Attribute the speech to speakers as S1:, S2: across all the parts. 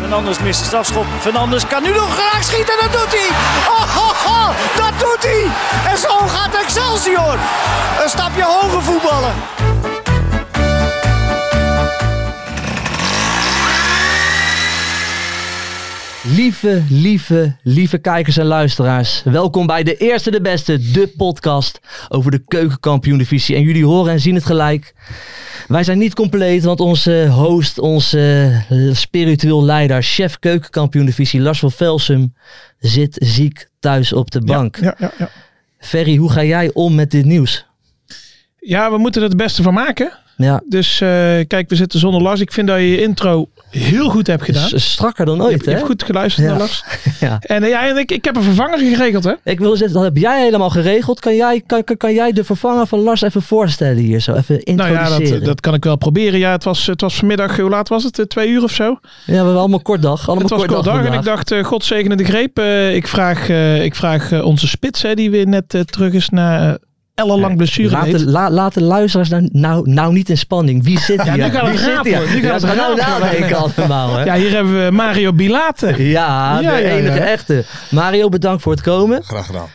S1: Fernandes mist de strafschop. Fernandes kan nu nog graag schieten. Dat doet hij. Oh, oh, oh, dat doet hij. En zo gaat Excelsior. Een stapje hoger voetballen.
S2: Lieve, lieve, lieve kijkers en luisteraars. Welkom bij de Eerste de Beste, de podcast over de keukenkampioen-divisie. En jullie horen en zien het gelijk. Wij zijn niet compleet, want onze host, onze eh, spiritueel leider, chef keukenkampioen-divisie, Lars van Velsum, zit ziek thuis op de bank.
S3: Ja, ja, ja.
S2: Ferry, hoe ga jij om met dit nieuws?
S3: ja, we moeten er het beste van maken.
S2: Ja,
S3: Dus eh, kijk, we zitten zonder Lars. Ik vind dat je je intro heel goed hebt gedaan.
S2: s- strakker dan
S3: je, hebt-
S2: ooit,
S3: je
S2: hè?
S3: hebt goed geluisterd
S2: Ja.
S3: naar Lars.
S2: Ja.
S3: En, eh, ja, en ik, ik heb een vervanger geregeld, hè?
S2: Ik wil zeggen, dat heb jij helemaal geregeld. Kan jij, kan, kan, kan jij de vervanger van Lars even voorstellen hier zo? Even
S3: Nou
S2: introduceren.
S3: ja, dat, dat kan ik wel proberen. Ja, het was, het was vanmiddag, hoe laat was het? Eh, Twee uur of zo?
S2: Ja, we hebben allemaal kort dag. Allemaal
S3: Het was
S2: kort dag,
S3: kort dag en
S2: vandaag.
S3: ik dacht, eh, God zegene de greep. Eh, ik vraag, eh, ik vraag eh, onze spits, hè, die weer net eh, terug is na eh, ellenlang blessure.
S2: Laat de, la- laat de luisteraars nou, nou, nou niet in spanning. Wie zit hier?
S3: nu gaat
S2: Wie
S3: het
S2: zit
S3: raapen.
S2: hier? Ja,
S3: Nu gaat het
S2: we gaan nou
S3: raapen.
S2: nadenken allemaal. Hè? Ja,
S3: Ja, hier hebben we Mario Bilate.
S2: de
S3: Ja, ja,
S2: enige
S3: ja.
S2: echte. Mario, bedankt voor het komen.
S4: Graag gedaan.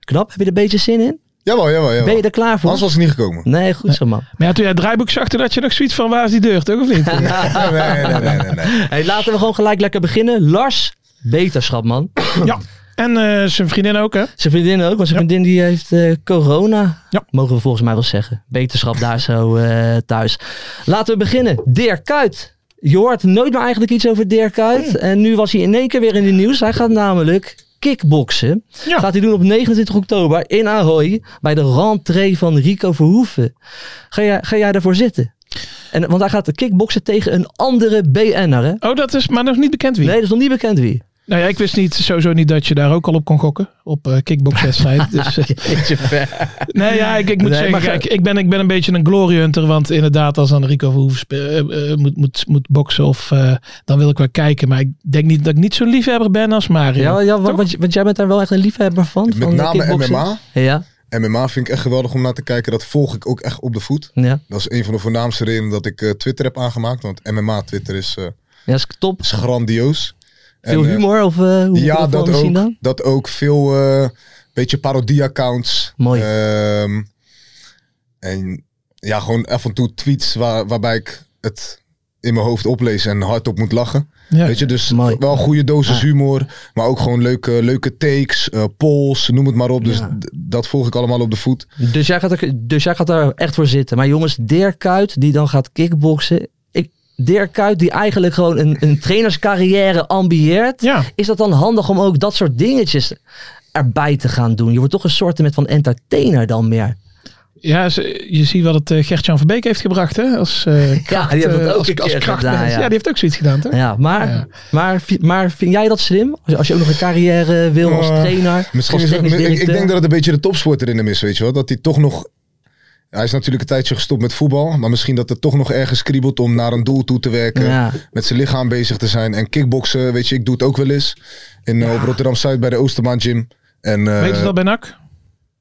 S2: Knap, heb je er een beetje zin in?
S4: Jawel, jawel, jawel.
S2: Ben je er klaar voor?
S4: Anders was ik niet gekomen.
S2: Nee, goed zo man.
S3: Maar ja, toen jij het draaiboek zag, toen had je nog zoiets van, waar is die deur, toch of niet?
S4: Nee, nee, nee, nee, nee, nee.
S2: Hey, laten we gewoon gelijk lekker beginnen. Lars, beterschap man.
S3: Ja, en eh, zijn vriendin ook, hè?
S2: Zijn vriendin ook, want zijn vriendin die heeft eh, corona.
S3: Ja.
S2: Mogen we volgens mij wel zeggen. Beterschap daar zo eh, thuis. Laten we beginnen. Dirk Kuyt. Je hoort nooit meer eigenlijk iets over Dirk Kuyt. En nu was hij in één keer weer in het nieuws. Hij gaat namelijk kickboksen.
S3: Ja.
S2: Gaat hij doen op 29 oktober in Ahoy. Bij de rentree van Rico Verhoeven. Ga jij, ga jij daarvoor zitten? En, want hij gaat kickboksen tegen een andere BN'er. hè?
S3: Oh, dat is maar nog niet bekend wie.
S2: Nee, dat is nog niet bekend wie.
S3: Nou ja, ik wist niet, sowieso niet dat je daar ook al op kon gokken. Op eh kickboxwedstrijd. dus, eh,
S2: Beetje ver.
S3: nee, ja, ik, ik moet
S2: Nee, maar
S3: zeggen,
S2: ge-
S3: kijk, ik ben, ik ben een beetje een glory hunter. Want inderdaad, als dan Rico Verhoeven spe- eh, eh, moet, moet, moet boksen, of, eh, dan wil ik wel kijken. Maar ik denk niet dat ik niet zo'n liefhebber ben als Mario.
S2: Ja, ja want,
S3: Toch?
S2: want, want jij bent daar wel echt een liefhebber van.
S4: Met
S2: van eh,
S4: name
S2: kickboksen.
S4: MMA.
S2: Ja,
S4: MMA vind ik echt geweldig om naar te kijken. Dat volg ik ook echt op de voet.
S2: ja.
S4: Dat is een van de voornaamste redenen dat ik eh, Twitter heb aangemaakt. Want MMA Twitter is, eh,
S2: Ja, is top.
S4: is grandioos.
S2: Veel
S4: En, eh,
S2: humor of eh, hoe
S4: ja,
S2: hoeveel
S4: dat
S2: we zien
S4: ook.
S2: dan?
S4: Dat ook. Veel eh, beetje parodie-accounts.
S2: Mooi.
S4: Ehm, en ja, gewoon af en toe tweets waar, waarbij ik het in mijn hoofd oplees en hardop moet lachen.
S3: Ja.
S4: Weet je, dus
S2: Mooi.
S4: wel een goede dosis
S2: Ja.
S4: humor, maar ook gewoon leuke, leuke takes, eh, polls, noem het maar op. Dus
S2: Ja.
S4: d- dat volg ik allemaal op de voet.
S2: Dus, jij gaat er, dus jij gaat daar echt voor zitten. Maar jongens, Dirk Kuyt die dan gaat kickboksen. Ik, Dirk Kuyt die eigenlijk gewoon een, een trainerscarrière ambieert.
S3: Ja.
S2: Is dat dan handig om ook dat soort dingetjes erbij te gaan doen? Je wordt toch een soort met van entertainer dan meer.
S3: Ja, ze- je ziet wat het eh, Gert-Jan van Beek heeft gebracht, hè? Als, eh, kracht,
S2: die heeft dat
S3: eh,
S2: ook
S3: als,
S2: een
S3: als
S2: keer
S3: krachtmens.
S2: gedaan, ja.
S3: ja, die heeft ook zoiets gedaan, toch?
S2: Nou Ja, maar,
S3: Ja.
S2: Maar, vi- maar vind jij dat slim? Als je, als je ook nog een carrière wil als
S4: Eh,
S2: trainer,
S4: Misschien
S2: als
S4: is het,
S2: technisch
S4: ik, ik
S2: directeur?
S4: denk dat het een beetje de topsporter in hem is, weet je wel. Dat hij toch nog... Hij is natuurlijk een tijdje gestopt met voetbal, maar misschien dat het toch nog ergens kriebelt om naar een doel toe te werken.
S2: Ja.
S4: met zijn lichaam bezig te zijn. En kickboksen, weet je, ik doe het ook wel eens. In eh, op Rotterdam-Zuid bij de Oosterbaan Gym. En eh,
S3: Weet je dat bij NAC?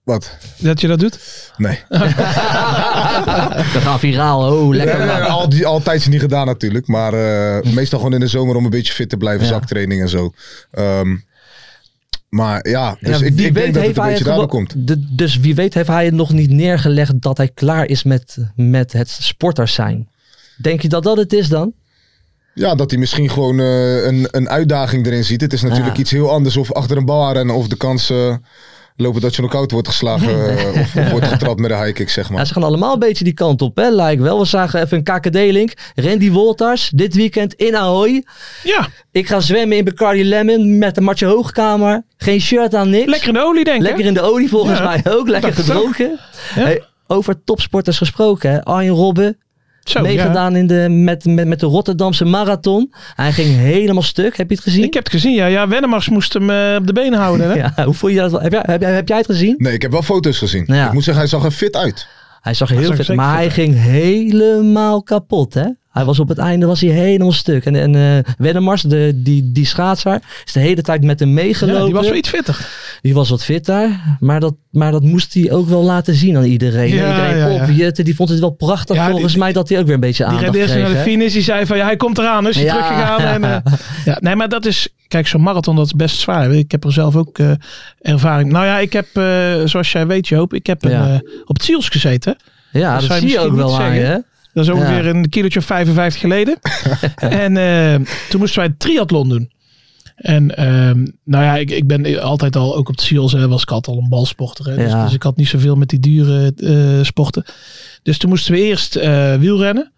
S4: wat?
S3: Dat je dat doet?
S4: Nee.
S2: We gaan viraal. Oh, lekker.
S4: Nee, nee, nee,
S2: man.
S4: al, die, altijd niet gedaan natuurlijk. Maar eh, meestal gewoon in de zomer om een beetje fit te blijven.
S2: Ja.
S4: Zaktraining en zo. Ehm, maar ja, dus
S2: Ja,
S4: ik,
S2: wie weet
S4: ik denk dat
S2: heeft
S4: het een
S2: hij
S4: beetje
S2: het
S4: daardoor
S2: gewo-
S4: komt.
S2: De- dus wie weet heeft hij het nog niet neergelegd dat hij klaar is met, met het sporters zijn. Denk je dat dat het is dan?
S4: Ja, dat hij misschien gewoon eh, een, een uitdaging erin ziet. Het is natuurlijk
S2: Ja.
S4: iets heel anders of achter een bal aan rennen of de kans eh, lopen dat je knock-out wordt geslagen eh, of, of wordt getrapt met een high kick, zeg
S2: Ja,
S4: maar.
S2: ze gaan allemaal een beetje die kant op, hè? Lijkt wel. We zagen even een KKD-link. Randy Wolters, dit weekend in Ahoy.
S3: Ja,
S2: Ik ga zwemmen in Bacardi Lemon met een matje hoogkamer. Geen shirt aan, niks.
S3: lekker in de olie denk ik.
S2: Lekker in de olie volgens
S3: Ja.
S2: mij ook. Lekker
S3: Dat is ook.
S2: gedronken.
S3: Ja.
S2: Hey, over topsporters gesproken, hè? Arjen Robben,
S3: Zo, Oh, ja.
S2: meegedaan in de, met, met, met de Rotterdamse marathon. Hij ging helemaal stuk. Heb je het gezien?
S3: Ik heb het gezien, ja. Ja, Wennemars moest hem eh, op de benen houden. Hè?
S2: ja, hoe voel je dat? wel? Heb jij, heb, jij- heb jij het gezien?
S4: Nee, ik heb wel foto's gezien.
S2: Ja.
S4: Ik moet zeggen, hij zag er fit uit.
S2: Hij zag er heel
S3: zag
S2: vet,
S3: zeker
S2: maar
S3: vet
S2: hij ging helemaal kapot, hè? Hij was op het einde was hij helemaal stuk. En, en eh Wennemars, de, die, die schaatser, is de hele tijd met hem meegelopen.
S3: Ja, die was wel iets fitter.
S2: Die was wat fitter, maar dat, maar dat moest hij ook wel laten zien aan iedereen.
S3: Ja,
S2: iedereen
S3: ja, ja.
S2: opjutten, die vond het wel prachtig
S3: Ja, die-
S2: volgens mij Ah, dat hij ook weer een beetje
S3: Die
S2: aandacht
S3: rende eerst
S2: kreeg.
S3: naar de
S2: hè?
S3: finish. Die zei van, ja, hij komt eraan. Dus hij
S2: Ja.
S3: teruggegaan. En, eh, ja, nee, maar dat is... Kijk, zo'n marathon, dat is best zwaar. Ik heb er zelf ook eh, ervaring. Nou ja, ik heb, eh, zoals jij weet Joop, ik heb een,
S2: Ja.
S3: eh, op het Ziels gezeten.
S2: Ja,
S3: Dat
S2: dat,
S3: zou je
S2: zie je ook
S3: misschien
S2: wel
S3: niet
S2: aan je,
S3: zeggen.
S2: hè?
S3: Dat is ongeveer
S2: Ja.
S3: een kilootje of 55 geleden. en eh, toen moesten wij een triathlon doen. En ehm, nou ja, ik, ik ben altijd al, ook op het SEALS eh, was ik altijd al een balsporter. Hè? Dus,
S2: Ja.
S3: dus ik had niet zoveel met die dure eh, sporten. Dus toen moesten we eerst eh, wielrennen.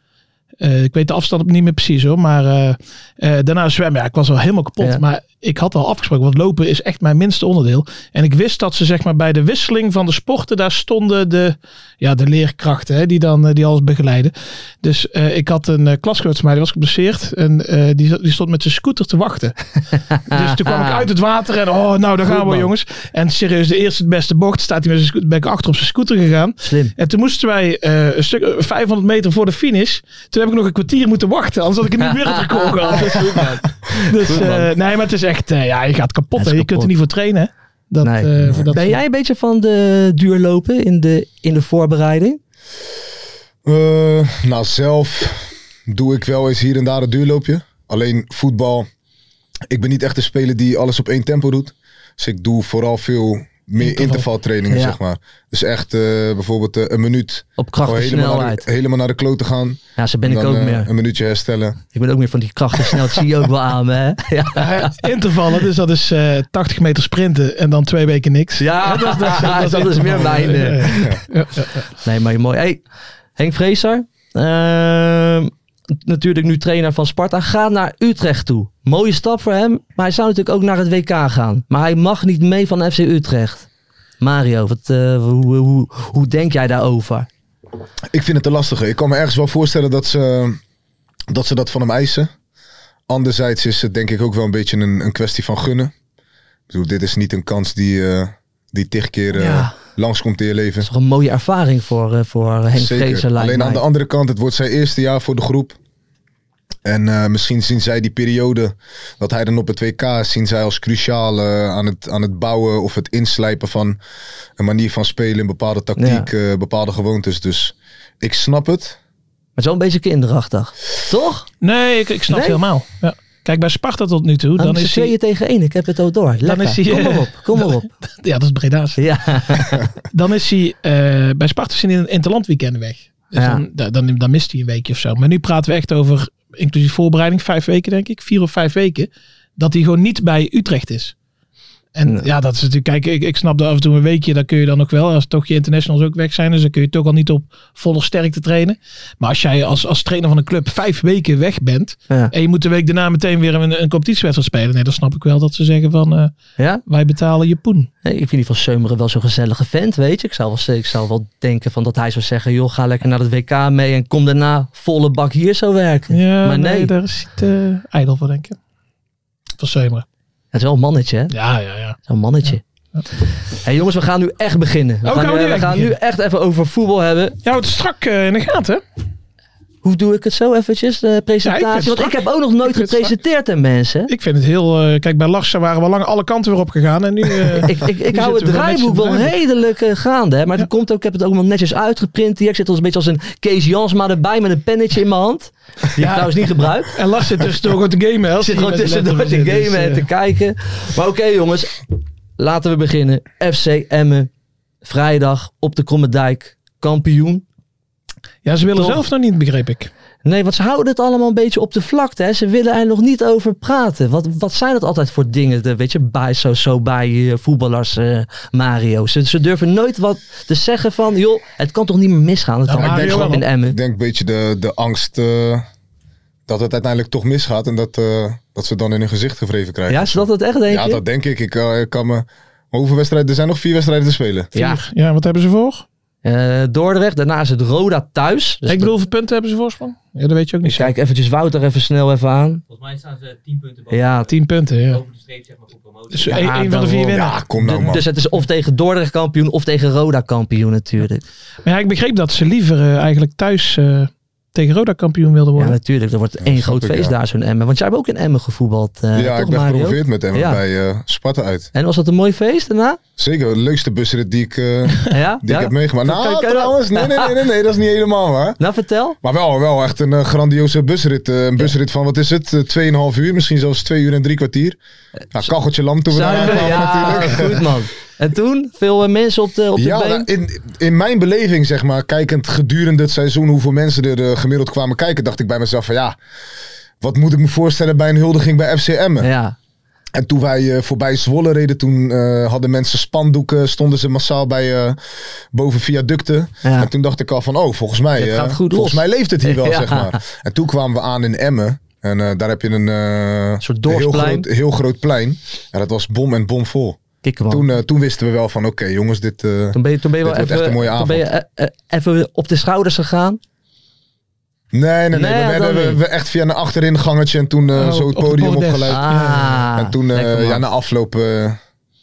S3: Eh, ik weet de afstand niet meer precies hoor. Maar eh, eh, daarna zwemmen. Ja, ik was al helemaal kapot.
S2: Ja.
S3: Maar ik had al afgesproken. Want lopen is echt mijn minste onderdeel. En ik wist dat ze zeg maar bij de wisseling van de sporten. Daar stonden de, ja, de leerkrachten. Hè, die dan eh, die alles begeleiden. Dus eh, ik had een eh klasgenoot van mij. Die was geblesseerd. En eh, die, die stond met zijn scooter te wachten. dus toen kwam ik uit het water. En oh nou daar
S2: Goed,
S3: gaan we
S2: man.
S3: jongens. En serieus de eerste het beste bocht. Staat hij met zijn scooter. Ben ik achter op zijn scooter gegaan.
S2: Slim.
S3: En toen moesten wij eh, een stuk eh, 500 meter voor de finish. Toen heb ik nog een kwartier moeten wachten. Anders had ik een nieuw wereldrecord gehad. Dus
S2: Goed, man.
S3: eh, nee, maar het is echt... eh, ja, je gaat kapot.
S2: Het
S3: hè.
S2: is
S3: Je kunt
S2: kapot.
S3: er niet voor trainen. hè. Dat,
S2: Nee.
S3: eh, voor dat
S2: Ben
S3: soort-
S2: jij een beetje van de duurlopen in de, in de voorbereiding?
S4: Eh, nou, zelf doe ik wel eens hier en daar een duurloopje. Alleen voetbal. Ik ben niet echt een speler die alles op één tempo doet. Dus ik doe vooral veel meer intervaltrainingen,
S2: Ja.
S4: zeg maar. Dus echt eh, bijvoorbeeld eh, een minuut.
S2: Op kracht en
S4: Gewoon helemaal naar,
S2: snelheid.
S4: de, helemaal naar de klote gaan.
S2: Ja, zo ben
S4: en
S2: ik
S4: dan,
S2: ook
S4: eh,
S2: meer.
S4: Een minuutje herstellen.
S2: Ik ben ook meer van die kracht en snelheid. zie je ook wel aan me, hè? Ja.
S3: Ja, intervallen, dus dat is eh, 80 meter sprinten en dan twee weken niks.
S2: Ja, dat, is, dat is meer
S3: intervallen.
S2: mijn. eh.
S3: Ja, ja.
S2: Nee, maar mooi. Hey, Henk Vreeser, ehm, natuurlijk nu trainer van Sparta, gaat naar Utrecht toe. Mooie stap voor hem, maar hij zou natuurlijk ook naar het WK gaan. Maar hij mag niet mee van FC Utrecht. Mario, wat, eh, hoe, hoe, hoe denk jij daarover?
S4: Ik vind het te lastige. Ik kan me ergens wel voorstellen dat ze dat, ze dat van hem eisen. Anderzijds is het denk ik ook wel een beetje een, een kwestie van gunnen. Ik bedoel, dit is niet een kans die, eh, die tig keer eh,
S2: Ja.
S4: langskomt in je leven.
S2: Dat is toch een mooie ervaring voor, eh, voor Henk Vreeser, lijkt
S4: Alleen
S2: mij.
S4: aan de andere kant, het wordt zijn eerste jaar voor de groep. En eh, misschien zien zij die periode dat hij dan op het WK is, zien zij als cruciaal eh, aan, het, aan het bouwen of het inslijpen van een manier van spelen, een bepaalde tactiek, eh, bepaalde gewoontes. Dus ik snap het.
S2: Maar zo'n beetje kinderachtig. Toch?
S3: Nee, ik, ik snap
S2: Nee?
S3: het helemaal. Ja. Kijk, bij Sparta tot nu toe,
S2: Dan
S3: dan
S2: is
S3: is hij...
S2: tweeën tegen één. Ik heb het al door. Lekker.
S3: is hij,
S2: kom
S3: eh,
S2: maar op. Kom maar op.
S3: Ja, dat is Breda's.
S2: Ja.
S3: dan is hij eh, bij Sparta is hij in een interlandweekend weg. Dus
S2: Ja.
S3: dan, da- dan, dan mist hij een weekje of zo. Maar nu praten we echt over, inclusief voorbereiding, vijf weken denk ik. Vier of vijf weken. Dat hij gewoon niet bij Utrecht is. En
S2: Nee.
S3: ja, dat is natuurlijk, kijk, ik, ik snap dat af en toe een weekje, dan kun je dan nog wel, als toch je internationals ook weg zijn, dus dan kun je toch al niet op volle sterkte trainen. Maar als jij als, als trainer van een club vijf weken weg bent,
S2: Ja.
S3: en je moet de week daarna meteen weer een, een competitiewedstrijd spelen, nee, dan snap ik wel dat ze zeggen van, eh,
S2: ja?
S3: wij betalen je poen.
S2: Nee, ik vind die van Seumeren wel zo'n gezellige vent, weet je. Ik zou, wel, ik zou wel denken van dat hij zou zeggen... joh, ga lekker naar het WK mee en kom daarna volle bak hier zo werken.
S3: Ja,
S2: maar nee,
S3: nee, daar is het eh, ijdel voor, denk ik. Van Seumeren.
S2: het is wel een mannetje, hè. Het
S3: Ja, ja, ja.
S2: is wel een mannetje. hey, jongens, we gaan nu echt beginnen. We
S3: Oh,
S2: gaan,
S3: gaan we
S2: nu,
S3: nu
S2: we
S3: echt
S2: gaan nu
S3: beginnen?
S2: echt even over voetbal hebben.
S3: Ja, het is strak eh, in de gaten. hè?
S2: Hoe doe ik het zo eventjes, de presentatie?
S3: het
S2: Want ik
S3: strak.
S2: heb ook nog nooit
S3: Ik vind het
S2: gepresenteerd aan mensen.
S3: Ik vind het heel... eh, kijk, bij Larsen waren we lang alle kanten weer op gegaan. En nu... eh,
S2: Ik, ik, ik
S3: Nu
S2: hou het
S3: zitten we wel
S2: draaiboek
S3: netjes in het
S2: wel
S3: draaiboek.
S2: redelijk eh, gaande. Hè? Maar het komt ook, ik heb het ook wel netjes uitgeprint hier. Ik zit als een beetje als een Kees Jansma erbij met een pennetje in mijn hand. Die ik trouwens niet gebruik.
S3: en Lars zit tussendoor gewoon te gamen. hè, als
S2: Ik zit
S3: hij
S2: gewoon
S3: met de
S2: tussendoor te
S3: laptop
S2: gamen
S3: zit, dus,
S2: en
S3: eh,
S2: te kijken. Maar oké jongens, laten we beginnen. FC Emmen, vrijdag op de Kromme Dijk, kampioen.
S3: ja, ze willen
S2: Toch?
S3: zelf nog niet, begreep ik.
S2: Nee, want ze houden het allemaal een beetje op de vlakte. Hè. Ze willen er nog niet over praten. Wat, wat zijn dat altijd voor dingen? De, weet je, bij, zo, zo bij eh, voetballers, eh, Mario. Ze, ze durven nooit wat te zeggen van... joh, het kan toch niet meer misgaan? Het
S3: Ja,
S2: kan
S3: maar
S2: niet
S3: ik denk
S2: misgaan in
S3: wel-
S2: Emmen.
S4: Ik denk een beetje de, de angst eh, dat het uiteindelijk toch misgaat en dat, eh, dat ze dan in hun gezicht gevreven krijgen.
S2: Ja, is dat het echt, denk
S4: Ja,
S2: je?
S4: dat denk ik. Ik eh, kan me... Maar hoeveel wedstrijden? Er zijn nog vier wedstrijden te spelen.
S2: Ja.
S3: Ja, wat hebben ze voor?
S2: Eh, Dordrecht, daarna is het Roda thuis. Dus
S3: ik bedoel, hoeveel punten hebben ze voorsprong? Ja, dat weet je ook
S2: Ik
S3: niet.
S2: kijk eventjes Wouter even snel even aan.
S5: Volgens mij staan ze 10 punten boven,
S2: Ja,
S3: 10 punten, ja.
S5: boven de streep zeg maar, voor promotie.
S3: Dus
S2: Ja,
S3: één één van de vier
S2: daarom.
S3: winnen.
S4: Ja, kom nou man.
S2: dus het is of tegen Dordrecht kampioen of tegen Roda kampioen natuurlijk.
S3: Maar ja, ik begreep dat ze liever eh, eigenlijk thuis eh, tegen Roda kampioen wilden
S2: Ja,
S3: worden.
S2: natuurlijk. Er wordt één
S4: snap
S2: groot
S4: ik,
S2: feest
S4: ja.
S2: daar zo'n Emmen. Want jij hebt ook in Emmen gevoetbald, eh,
S4: ja,
S2: toch
S4: ik ben
S2: Mario?
S4: gepromoveerd met hem
S2: Ja.
S4: bij eh, Sparta uit.
S2: En was dat een mooi feest daarna?
S4: Zeker, de leukste busrit die ik, eh,
S2: Ja?
S4: die
S2: ja?
S4: ik heb meegemaakt.
S2: Kan- kan
S4: Nou,
S2: je dat-
S4: trouwens, nee, nee, nee, nee, nee, dat is niet helemaal waar.
S2: Nou, vertel.
S4: Maar wel, wel echt een eh, grandioze busrit. Eh, een busrit van, wat is het, eh, 2,5 uur, misschien zelfs 2 uur en drie kwartier. Ja, kacheltje lam toen we daar
S2: Zuipen,
S4: kwamen
S2: Eh, ja,
S4: natuurlijk.
S2: goed man. En toen? Veel eh, mensen op de, op de
S4: Ja,
S2: been?
S4: nou, in, in mijn beleving, zeg maar, kijkend gedurende het seizoen hoeveel mensen er eh, gemiddeld kwamen kijken, dacht ik bij mezelf van ja, wat moet ik me voorstellen bij een huldiging bij FCM?
S2: ja.
S4: En toen wij eh, voorbij Zwolle reden, toen eh, hadden mensen spandoeken, stonden ze massaal bij eh, boven viaducten.
S2: Ja.
S4: En toen dacht ik al van, oh, volgens mij,
S2: Het
S4: eh,
S2: gaat goed
S4: volgens
S2: los.
S4: mij leeft het hier wel,
S2: Ja.
S4: zeg maar. En toen kwamen we aan in Emmen. En eh, daar heb je een, eh,
S2: soort
S4: heel,
S2: dorpsplein.
S4: groot, heel groot plein. En dat was bom en bom vol.
S2: Kikken man.
S4: Toen,
S2: Toen,
S4: eh, toen wisten we wel van, oké jongens, dit... eh,
S2: ben je, toen ben je
S4: dit
S2: wel
S4: wordt
S2: even,
S4: echt een mooie
S2: toen ben je, eh, eh, even op de schouders gegaan.
S4: Nee, nee, nee.
S2: Nee,
S4: we
S2: dat
S4: werden we,
S2: niet.
S4: we echt via een achteringangetje en toen eh,
S3: Oh,
S4: zo het
S3: op de
S4: podium
S3: bordes.
S4: opgeleid.
S2: Ah,
S4: en toen, eh,
S2: lekker, man.
S4: ja, na afloop... eh,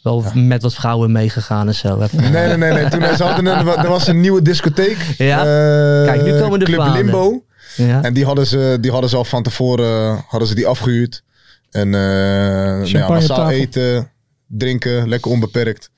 S2: Wel met wat vrouwen meegegaan en zo. Even.
S4: nee, nee, nee. nee. Toen, eh, ze hadden een, er was een nieuwe discotheek.
S2: Ja.
S4: eh,
S2: Kijk, nu komen de
S4: Club
S2: verhalen.
S4: Limbo.
S2: Ja.
S4: En die hadden ze, die hadden ze al van tevoren eh, hadden ze die afgehuurd. En eh nou ja,
S3: op
S4: massaal
S3: tafel.
S4: eten, drinken, lekker onbeperkt.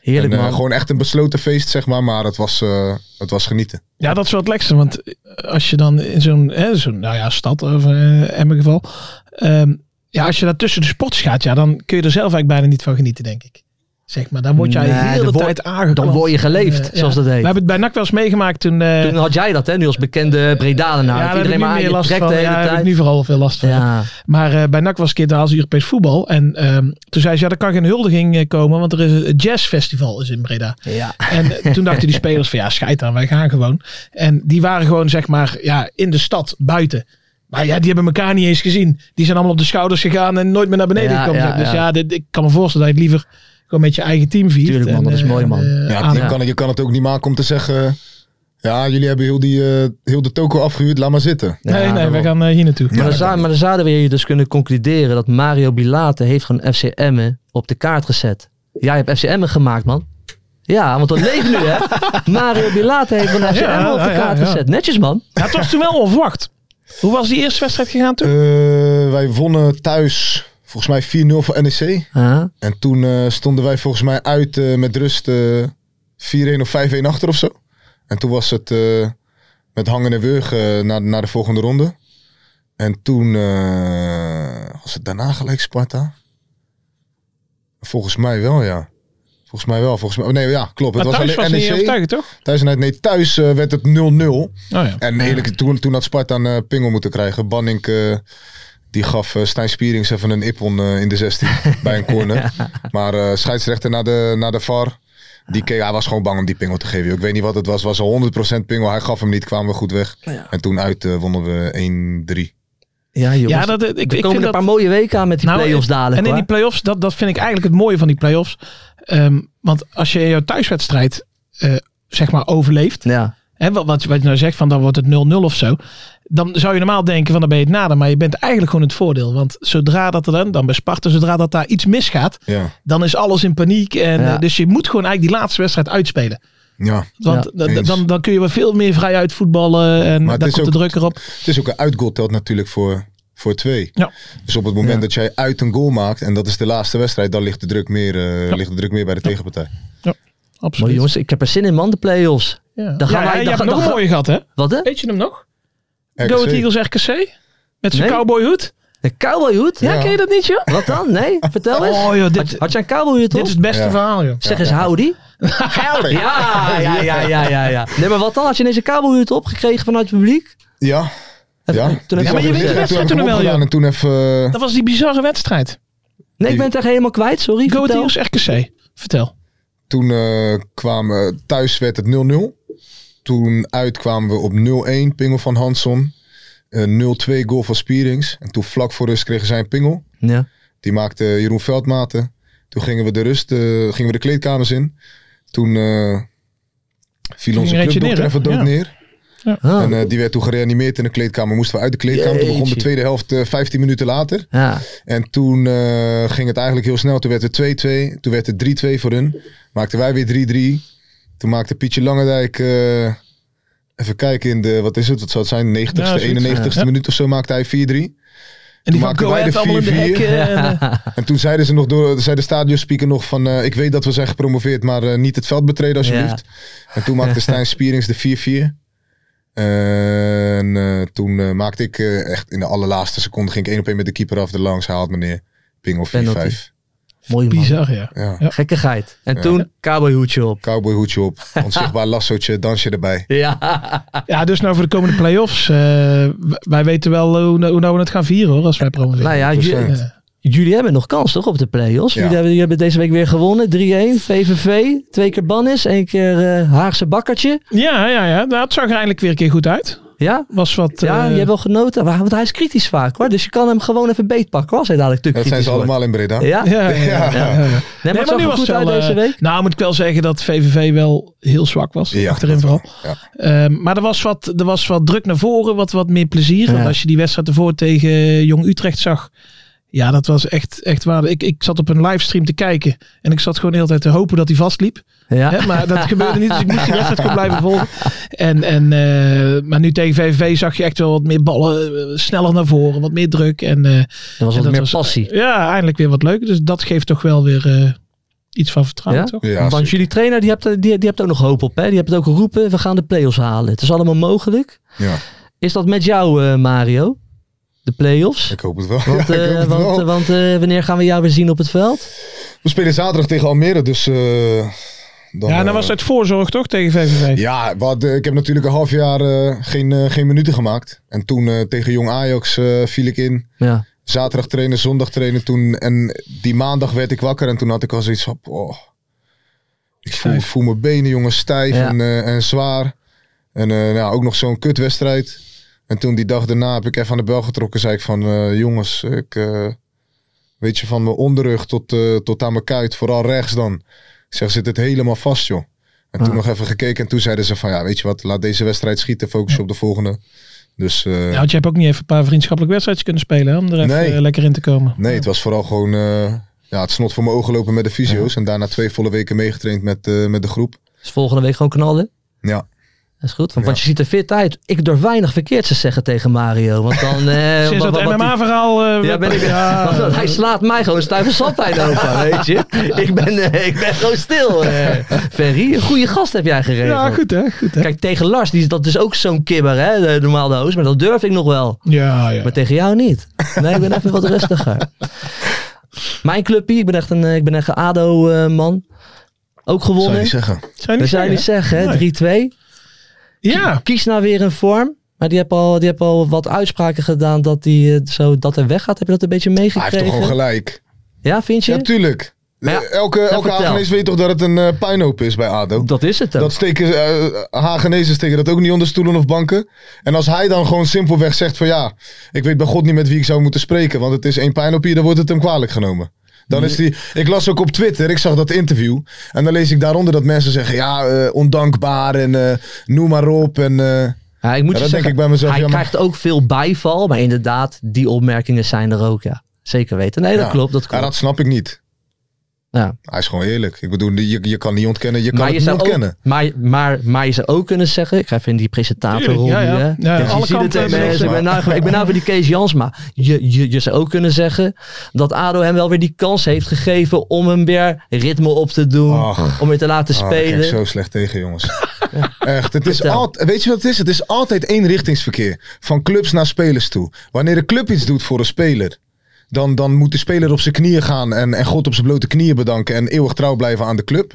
S2: Heerlijk
S4: en, eh,
S2: man.
S4: gewoon echt een besloten feest, zeg maar. Maar het was, eh, het was genieten.
S3: Ja, dat is wel het lekkerste. Want eh, als je dan in zo'n hè, zo'n, nou ja, stad, of eh, in mijn geval. ehm, ja, als je daar tussen de sports gaat, ja, dan kun je er zelf eigenlijk bijna niet van genieten, denk ik. Zeg maar, dan word jij
S2: Nee,
S3: de hele
S2: dan word-
S3: tijd aangeklampt.
S2: dan word je geleefd,
S3: Eh, ja.
S2: zoals dat heet.
S3: We hebben het bij NAC wel eens meegemaakt toen... eh,
S2: Toen had jij dat, hè, nu als bekende Bredalenaar. dat
S3: ja, daar heb ik
S2: iedereen
S3: nu
S2: maar aan
S3: meer
S2: je
S3: last
S2: trekt
S3: van.
S2: de
S3: Ja,
S2: hele
S3: daar heb
S2: tijd.
S3: ik nu vooral veel last van.
S2: ja.
S3: Maar eh, bij NAC was ik een keer daar als Europees voetbal. En ehm, toen zei ze, ja, er kan geen huldiging eh, komen, want er is een jazzfestival is in Breda.
S2: Ja.
S3: En eh, toen dachten die spelers van, ja, scheid aan, wij gaan gewoon. En die waren gewoon, zeg maar, ja, in de stad, buiten. Maar ja, die hebben elkaar niet eens gezien. Die zijn allemaal op de schouders gegaan en nooit meer naar beneden
S2: Ja,
S3: gekomen.
S2: ja,
S3: dus
S2: ja.
S3: ja, dit- ik kan me voorstellen dat je het liever gewoon met je eigen team viert.
S2: Tuurlijk, man,
S3: En,
S2: dat is
S3: eh,
S2: mooi, man.
S3: en, eh,
S4: Ja,
S3: aan-
S4: je, kan, het- je kan het ook niet maken om te zeggen... Ja, jullie hebben heel, die, eh, heel de toko afgehuurd, laat maar zitten.
S3: Nee,
S2: Ja,
S3: nee,
S2: daarom.
S3: we gaan eh, hier naartoe.
S2: Maar,
S4: Ja,
S2: dan
S4: dat
S2: zou,
S4: kan
S2: maar dan zouden we hier dus kunnen concluderen dat Mario Bilate heeft gewoon FC Emmen op de kaart gezet. Jij hebt FC Emmen gemaakt, man. Ja, want dat leeft nu, hè? Mario Bilate heeft gewoon FC
S3: Ja,
S2: Emmen op de
S3: ja, ja,
S2: kaart
S3: ja.
S2: gezet. Netjes, man.
S3: Ja, het was toen wel onverwacht. Hoe was die eerste wedstrijd gegaan toen?
S4: Eh, wij wonnen thuis volgens mij 4-0 voor E NEC.
S2: Ja.
S4: En toen eh, stonden wij volgens mij uit eh, met rust eh, 4-1 of 5-1 achter of zo. En toen was het eh, met hangen en wurgen naar, naar de volgende ronde. En toen eh, was het daarna gelijk Sparta. Volgens mij wel, ja. Volgens mij wel. Volgens mij, oh, nee, ja, klopt.
S3: Maar
S4: het was
S3: thuis
S4: alleen
S3: was E niet
S4: NEC.
S3: overtuigend, toch?
S4: thuis, en uit- nee, thuis eh, werd het 0-0.
S3: Oh ja.
S4: En eerlijk, toen, toen had Sparta een eh, pingel moeten krijgen. Banning eh, die gaf eh, Stijn Spierings even een ippon eh, in de 16 bij een corner. Maar eh, scheidsrechter naar de, naar de VAR. Die keek, hij was gewoon bang om die pingel te geven. joh. Ik weet niet wat het was. Het was een 100% pingel. Hij gaf hem niet, kwamen we goed weg. En toen uit eh, wonnen we 1-3.
S2: Ja, jongens.
S3: Ja, dat, eh, ik, ik
S2: er
S3: vind
S2: komen een
S3: dat-
S2: paar mooie weken aan met die
S3: Nou,
S2: play-offs dadelijk,
S3: En in
S2: hoor.
S3: die play-offs, dat, dat vind ik eigenlijk het mooie van die play-offs. Ehm, want als je jouw thuiswedstrijd eh, zeg maar overleeft,
S2: Ja.
S3: hè, wat, wat, wat je nou zegt van dan wordt het 0-0 of zo, dan zou je normaal denken van dan ben je het nader, maar je bent eigenlijk gewoon in het voordeel. Want zodra dat er dan, dan bij Sparta, zodra dat daar iets misgaat,
S4: Ja.
S3: dan is alles in paniek. En,
S2: Ja.
S3: eh, dus je moet gewoon eigenlijk die laatste wedstrijd uitspelen.
S4: ja.
S3: Want
S2: Ja,
S3: dan-
S4: eens.
S3: dan, dan kun je wel veel meer vrij uit voetballen en
S4: Maar het
S3: dan
S4: is
S3: komt de
S4: ook-
S3: druk erop.
S4: Het is ook een uitgoal telt natuurlijk voor, voor twee.
S3: Ja.
S4: Dus op het moment
S2: Ja.
S4: dat jij uit een goal maakt. En dat is de laatste wedstrijd. Dan ligt de druk meer, eh, ligt de druk meer bij de tegenpartij.
S3: Absoluut.
S2: Mooi, jongens. Ik heb er zin in, man, de play-offs.
S3: Ja.
S2: Dan gaan
S3: Ja,
S2: wij-
S3: en
S2: dan
S3: je hebt
S2: ga-
S3: nog
S2: dan
S3: een
S2: ga-
S3: mooie gehad, hè?
S2: Wat, hè?
S3: Weet je hem nog?
S4: RKC.
S3: Go Ahead Eagles RKC? Met zijn
S2: Nee.
S3: cowboyhoed?
S2: Een cowboyhoed?
S3: Ja,
S4: Ja.
S3: ken je dat niet, joh?
S2: Wat dan? Nee? Vertel eens.
S3: Oh, joh,
S2: Had,
S3: dit,
S2: had jij een cowboyhoed,
S3: dit
S2: toch?
S3: is het beste
S4: Ja.
S3: verhaal, joh.
S2: Zeg eens, howdy.
S4: Howdy.
S2: Ja, ja, ja, ja, ja, ja. Nee, maar wat dan? Had je ineens een kabelhuurt opgekregen vanuit het publiek?
S4: Ja,
S2: Even-
S4: Ja,
S2: Toen
S3: Ja,
S2: heb
S3: maar
S2: je
S3: je
S2: al
S3: weet-
S2: gezegd.
S3: je weet-
S4: toen heb ik
S3: toen
S4: hem
S3: wel,
S4: opgedaan
S3: ja.
S4: en toen even... eh,
S3: Dat was die bizarre wedstrijd.
S2: Nee, ik ben het echt helemaal kwijt. Sorry,
S3: Go
S2: vertel.
S3: Eagles RKC. Vertel.
S4: Toen eh kwamen, thuis werd het 0-0. Toen uit kwamen we op 0-1, pingel van Hanson. Eh 0-2 goal van Spierings. En toen vlak voor rust kregen zij een pingel.
S2: Ja.
S4: Die maakte Jeroen Veldmaten. Toen gingen we de rust, eh, gingen we de kleedkamers in. Toen eh, viel onze
S3: ging Retje
S4: clubdokter
S3: neer, hè?
S4: even dood
S3: Ja.
S4: neer.
S2: Ah,
S4: En eh, die werd toen gereanimeerd in de kleedkamer. Moesten we uit de kleedkamer. Toen begon de
S2: Jeetje.
S4: tweede helft eh, 15 minuten later.
S2: ja.
S4: En toen eh, ging het eigenlijk heel snel. Toen werd het 2-2. Toen werd het 3-2 voor hun. Maakten wij weer 3-3. Toen maakte Pietje Langendijk... eh, even kijken in de... Wat is het? Wat zou het zijn? 90ste,
S3: Ja, zoiets,
S4: 91ste
S3: ja.
S4: minuut of zo maakte hij 4-3.
S3: En die van
S4: Maakten
S3: Go
S4: wij
S3: Ahead
S4: de
S3: allemaal in de
S4: 4-4?
S3: hekken. en, eh,
S4: En toen zeiden ze nog door, zei de stadionspeaker nog van, eh, ik weet dat we zijn gepromoveerd, maar eh, niet het veld betreden alsjeblieft. En toen maakte Stijn Spierings de 4-4. En eh, toen eh, maakte ik eh, echt in de allerlaatste seconde, ging ik één op één met de keeper af, de langs, hij haalt me neer. Pingel 4-5.
S2: Penalty. Mooi man.
S3: Bizar, ja.
S4: Ja.
S3: Ja.
S2: Gekkigheid. En toen cowboyhoedje op.
S4: Cowboy hoedje op, onzichtbaar lassootje, dansje erbij.
S2: Ja.
S3: Ja, dus nou voor de komende play-offs. eh, w- wij weten wel hoe, hoe nou we het gaan vieren hoor, als wij promoveren.
S2: Nou ja, ju-
S4: Procent.
S3: Ja.
S2: jullie hebben nog kans toch op de play-offs?
S4: Ja.
S2: Jullie, hebben, jullie hebben deze week weer gewonnen. 3-1, VVV, twee keer Bannis, één keer eh, Haagse bakkertje.
S3: ja, ja, ja. Nou, het zag er eindelijk weer een keer goed uit.
S2: Ja,
S3: Was wat,
S2: ja
S3: eh,
S2: je hebt wel genoten. Maar- Want hij is kritisch vaak hoor. Dus je kan hem gewoon even beetpakken hoor, als hij dadelijk te
S4: Dat
S2: kritisch
S4: zijn ze
S2: wordt.
S4: allemaal in Breda.
S2: Ja, nee,
S3: Ja, ja, ja, ja, ja.
S2: maar het zag er goed uit
S3: eh,
S2: deze week.
S3: Nou, moet ik wel zeggen dat VVV wel heel zwak was.
S4: Ja,
S3: achterin
S4: dat
S3: vooral.
S4: wel.
S3: Ehm, maar er was, wat, er was wat druk naar voren, wat, wat meer plezier. Want
S2: Ja.
S3: als je die wedstrijd ervoor tegen Jong Utrecht zag. Ja, dat was echt, echt waar. Ik, ik zat op een livestream te kijken. En ik zat gewoon de hele tijd te hopen dat hij vastliep.
S2: Ja.
S3: Hè, maar dat gebeurde niet, dus ik moest die wedstrijd gewoon blijven volgen. En, en, eh, maar nu tegen VVV zag je echt wel wat meer ballen, eh, sneller naar voren, wat meer druk. En, eh,
S2: Er was
S3: en
S2: wat
S3: dat
S2: meer
S3: was-
S2: passie.
S3: ja, eindelijk weer wat leuk. Dus dat geeft toch wel weer eh, iets van vertrouwen,
S2: Ja?
S3: toch?
S4: Ja,
S2: Want
S4: zeker.
S2: jullie trainer die hebt, die, die hebt ook nog hoop op. Hè? Die hebt het ook geroepen, we gaan de play-offs halen. Het is allemaal mogelijk.
S4: Ja,
S2: Is dat met jou eh, Mario? De play-offs?
S4: ik hoop het wel.
S2: Want,
S4: Ja, ik
S2: eh,
S4: hoop het
S2: want,
S4: wel.
S2: eh, want eh, wanneer gaan we jou weer zien op het veld?
S4: We spelen zaterdag tegen Almere, dus... eh, dan,
S3: Ja, en dan
S2: nou
S4: eh,
S3: was het voorzorg toch tegen VVV?
S4: Ja, wat, eh, ik heb natuurlijk een half jaar eh, geen, eh, geen minuten gemaakt. En toen eh, tegen Jong Ajax eh, viel ik in.
S2: Ja.
S4: Zaterdag trainen, zondag trainen. Toen, en die maandag werd ik wakker en toen had ik al zoiets van... Oh, ik voel, ik voel mijn benen, jongen, stijf
S2: Ja.
S4: en, eh, en zwaar. En eh, nou, ook nog zo'n kutwedstrijd. En toen die dag daarna heb ik even aan de bel getrokken. Zei ik van, eh, jongens, ik... eh, Weet je, van mijn onderrug tot, eh, tot aan mijn kuit, vooral rechts dan. Ik zeg, zit het helemaal vast, joh. En toen
S2: Ah.
S4: nog even gekeken en toen zeiden ze van, ja, weet je wat, laat deze wedstrijd schieten, focus je op de volgende. Dus eh,
S3: Ja, want je hebt ook niet even een paar vriendschappelijke wedstrijdjes kunnen spelen hè, om er even
S4: Nee.
S3: eh, lekker in te komen.
S4: nee, het was vooral gewoon eh, ja, het snot voor mijn ogen lopen met de fysio's. En daarna twee volle weken meegetraind met, eh, met de groep.
S2: Dus volgende week gewoon knallen.
S4: Ja,
S2: Dat is goed, want, want
S4: Ja.
S2: je ziet er fit uit. Ik durf weinig verkeerd te zeggen tegen Mario. Want dan... eh
S3: Sinds
S2: wat-
S3: dat
S2: wat- wat-
S3: MMA-verhaal...
S2: Ja, ben ik, want dan- hij slaat mij gewoon stuiven zandheid over, weet je. Ik ben, eh, ik ben gewoon stil, eh Ferry. Een goede gast heb jij geregeld.
S3: Ja, goed hè, goed hè.
S2: Kijk, tegen Lars, die, is- dat is ook zo'n kibber, hè, de, normaal de host. Maar dat durf ik nog wel.
S3: Ja, ja.
S2: Maar tegen jou niet. Nee, ik ben even wat rustiger. Mijn clubpie, ik ben echt een, eh, ik ben echt een ADO-man. ook
S4: zou je
S2: gewonnen.
S4: niet zeggen.
S3: Zijn
S2: Dat zou je niet zeggen, hè? 3-2.
S3: Ja,
S2: Kies nou weer een vorm. Maar die heb al, die heb al wat uitspraken gedaan dat die, eh, zo dat er weggaat. Heb je dat een beetje
S4: Hij heeft
S2: meegekregen?
S4: toch gewoon gelijk.
S2: ja, vind je?
S4: Ja, tuurlijk.
S2: Maar ja, nou,
S4: Eh, elke elke
S2: vertel.
S4: Hagenees weet toch dat het een eh, puinhoop is bij ADO?
S2: dat is het ook.
S4: Dat steken, eh, Hagenezen steken dat ook niet onder stoelen of banken. En als hij dan gewoon simpelweg zegt van ja, ik weet bij God niet met wie ik zou moeten spreken. Want het is één pijn op je, dan wordt het hem kwalijk genomen. Dan is die, ik las ook op Twitter, ik zag dat interview. En dan lees ik daaronder dat mensen zeggen ja, eh, ondankbaar en eh, noem maar op. En, eh,
S2: ja, ik moet
S4: Ja,
S2: je
S4: dat denk
S2: zeggen,
S4: ik bij mezelf,
S2: Hij
S4: ja, maar-
S2: krijgt ook veel bijval. Maar inderdaad, die opmerkingen zijn er ook, ja. Zeker weten. Nee, dat
S4: ja.
S2: klopt. Dat
S4: Ja,
S2: klopt.
S4: dat snap ik niet.
S2: Ja.
S4: Hij is gewoon eerlijk. Ik bedoel, je, je kan niet ontkennen, je kan het niet
S2: zou ook,
S4: ontkennen.
S2: maar, maar, maar je zou ook kunnen zeggen, ik ga even in die presentatorrol.
S3: Tuurlijk, ja, ja.
S2: hè.
S3: Ja,
S2: Dus je
S3: alle
S2: ziet het
S3: kanten
S2: en
S3: hebben
S2: mensen,
S4: ze.
S2: ik ben nou- Ik ben nou voor die Kees Jansma. Je, je, je zou ook kunnen zeggen dat ADO hem wel weer die kans heeft gegeven om hem weer ritme op te doen.
S4: Ach.
S2: om weer te laten
S4: Ah, daar kijk ik
S2: spelen.
S4: zo slecht tegen, jongens. Echt, het is
S2: Vertel.
S4: altijd, weet je wat het is? Het is altijd eenrichtingsverkeer. Van clubs naar spelers toe. Wanneer een club iets doet voor een speler, dan, dan moet de speler op zijn knieën gaan en, en God op zijn blote knieën bedanken en eeuwig trouw blijven aan de club.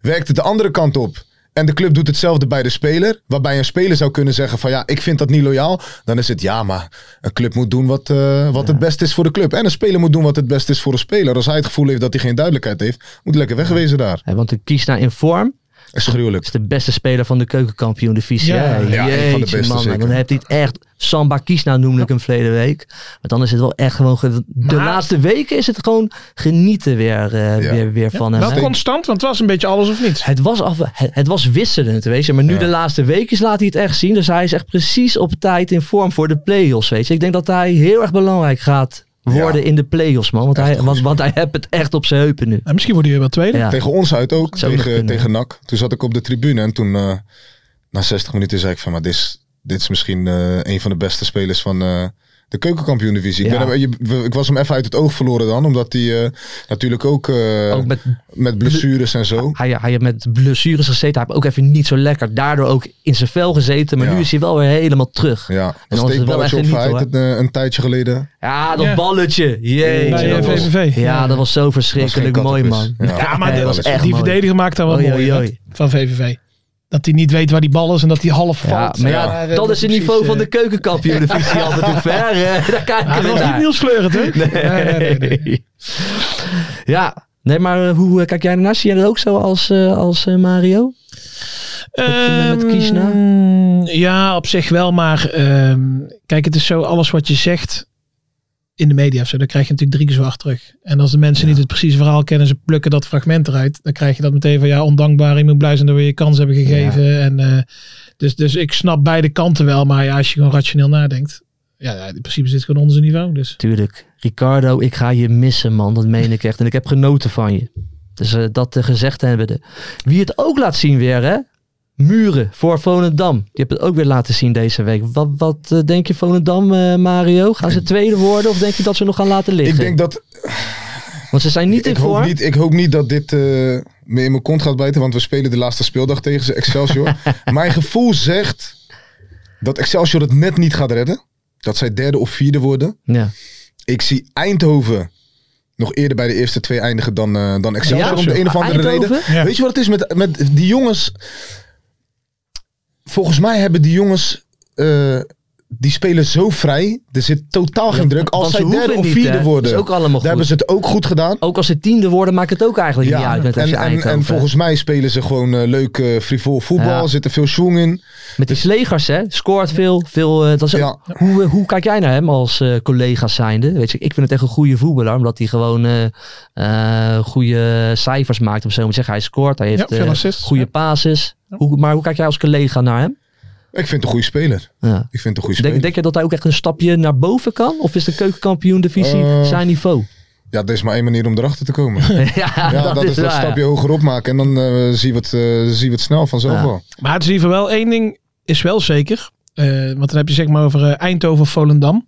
S4: Werkt het de andere kant op? En de club doet hetzelfde bij de speler. Waarbij een speler zou kunnen zeggen van ja, ik vind dat niet loyaal. Dan is het ja, maar een club moet doen wat, eh, wat het beste is voor de club. En een speler moet doen wat het beste is voor een speler. Als hij het gevoel heeft dat hij geen duidelijkheid heeft, moet lekker wegwezen daar.
S2: Hè, want de Kiesna in vorm
S4: Is gruwelijk.
S2: is de beste speler van de keukenkampioen divisie.
S3: Ja,
S2: hè?
S3: ja,
S4: een van de
S2: Jeetje,
S4: beste
S2: man,
S4: zeker.
S2: Dan heeft hij het echt Samba Kiesna noemde ik hem verleden week. Maar dan is het wel echt gewoon... ge- de
S3: Maar-
S2: laatste weken is het gewoon genieten weer, eh,
S4: Ja.
S2: weer, weer van hem.
S3: Wel
S2: hè?
S3: constant, want het was een beetje alles of niets.
S2: Het was, af, het, het was wisselend, weet je. Maar nu
S4: Ja.
S2: de laatste weekjes laat hij het echt zien. Dus hij is echt precies op tijd in vorm voor de play-offs, weet je. Ik denk dat hij heel erg belangrijk gaat worden
S4: Ja.
S2: in de play-offs, man. Want hij, want, want hij heeft het echt op zijn heupen nu.
S3: Nou, misschien wordt hij weer wel tweede.
S2: Ja.
S4: Tegen ons uit ook,
S2: Ah. Zou nog
S4: tegen,
S2: kunnen.
S4: tegen NAC. Toen zat ik op de tribune en toen eh, na 60 minuten zei ik van... maar dit is, dit is misschien eh, een van de beste spelers van eh, de keukenkampioen divisie.
S2: Ja.
S4: Ik, ben hem- je- we- ik was hem even uit het oog verloren dan. Omdat hij eh, natuurlijk ook, eh,
S2: Ook
S4: met,
S2: met,
S4: blessures en zo...
S2: hij, hij heeft met blessures gezeten. Hij heeft ook even niet zo lekker daardoor ook in zijn vel gezeten. Maar
S4: Ja.
S2: nu is hij wel weer helemaal terug. Ja,
S4: Ja,
S2: dan
S4: een
S2: was het wel echt
S4: steekballetje op
S2: genieten,
S4: Verheid
S2: hoor.
S4: een, eh, een tijdje geleden.
S2: dat
S3: Ja.
S2: balletje. Jeetje.
S3: Bij, eh,
S2: dat was-
S3: VVV.
S2: Ja, dat was zo verschrikkelijk
S4: Dat was
S2: mooi,
S4: geen
S2: man.
S4: kattenpis. Ja. Ja, maar
S2: Nee,
S4: dat
S2: dat was
S4: is-
S2: echt
S3: die
S2: mooi.
S3: verdediger maakt daar wat
S2: Oei,
S3: mooi
S2: oei,
S3: hè,
S2: oei.
S3: van VVV. Dat hij niet weet waar die bal is en dat hij half valt.
S2: Ja, maar ja,
S3: eh,
S2: dat is het
S3: precies,
S2: niveau
S3: eh,
S2: van de keukenkampioen divisie altijd hoe ver. hè? Daar
S3: ah,
S2: kijken
S3: dat
S2: we
S3: was niet
S2: naar.
S3: Niels Fleuren, hè? Nee, nee, nee, nee.
S2: Ja, nee, maar eh, hoe eh, kijk jij ernaar? Zie jij dat ook zo als, eh, als eh, Mario? Met- met Kiesna?
S3: Ehm, Ja, op zich wel. Maar ehm, kijk, het is zo, alles wat je zegt in de media of zo, dan krijg je natuurlijk drie keer zo hard terug. En als de mensen niet het precieze verhaal kennen, ze plukken dat fragment eruit, dan krijg je dat meteen van ja, ondankbaar, je moet blij zijn dat we je kans hebben gegeven. En, eh, dus, dus ik snap beide kanten wel, maar ja, als je gewoon rationeel nadenkt, ja, ja, in principe zit het gewoon onder zijn niveau. Dus.
S2: Tuurlijk. Ricardo, ik ga je missen, man. Dat meen ik echt. En ik heb genoten van je. Dus eh, dat eh, gezegd hebben. De... Wie het ook laat zien weer, hè? Muren voor Volendam. Die hebt het ook weer laten zien deze week. Wat, wat eh, denk je, Volendam, eh, Mario? Gaan ze tweede worden of denk je dat ze nog gaan laten liggen?
S4: Ik denk dat
S2: Want ze zijn niet
S4: ik
S2: in
S4: hoop
S2: vorm.
S4: niet, ik hoop niet dat dit eh, me in mijn kont gaat bijten, want we spelen de laatste speeldag tegen ze, Excelsior. mijn gevoel zegt dat Excelsior het net niet gaat redden. Dat zij derde of vierde worden.
S2: Ja.
S4: Ik zie Eindhoven nog eerder bij de eerste twee eindigen dan, eh, dan Excelsior.
S2: Ja?
S4: om de een of andere
S2: Eindhoven?
S4: reden.
S3: Ja.
S4: Weet je wat het is met, met die jongens? Volgens mij hebben die jongens. eh, die spelen zo vrij. Er zit totaal geen druk. Als
S2: Want
S4: zij
S2: ze hoeven
S4: derde of
S2: niet,
S4: vierde
S2: hè?
S4: worden.
S2: Dat is ook allemaal
S4: Daar
S2: goed.
S4: hebben ze het ook goed gedaan.
S2: Ook als ze tiende worden, maakt het ook eigenlijk niet uit met FC
S4: en, en,
S2: Eindhoven.
S4: en volgens mij spelen ze gewoon eh, leuk eh, frivol voetbal.
S2: Ja.
S4: Zit er veel schoen in.
S2: Met die slegers, hè? Scoort veel. veel eh, dat is ook-
S4: Ja.
S2: hoe, eh, hoe kijk jij naar hem als eh collega's zijnde? Weet je, ik vind het echt een goede voetballer, omdat hij gewoon eh, eh, goede cijfers maakt. Om zo maar te zeggen, hij scoort, hij heeft
S3: Ja, veel
S2: eh,
S3: assists.
S2: goede
S3: Ja.
S2: passes. Hoe, maar hoe kijk jij als collega naar hem?
S4: Ik vind het een goede speler.
S2: Ja.
S4: Ik vind het een goede
S2: Denk,
S4: speler.
S2: denk je dat hij ook echt een stapje naar boven kan? Of is de keukenkampioen divisie
S4: Eh.
S2: zijn niveau?
S4: Ja, er is maar één manier om erachter te komen.
S2: ja,
S4: ja, dat, is dat
S2: waar, ja.
S4: stapje hoger opmaken. En dan eh, zie, je het, eh, zie je het snel vanzelf
S2: Ja.
S4: wel.
S3: Maar het is in ieder geval wel één ding is wel zeker. eh, want dan heb je zeg maar over eh, Eindhoven Volendam.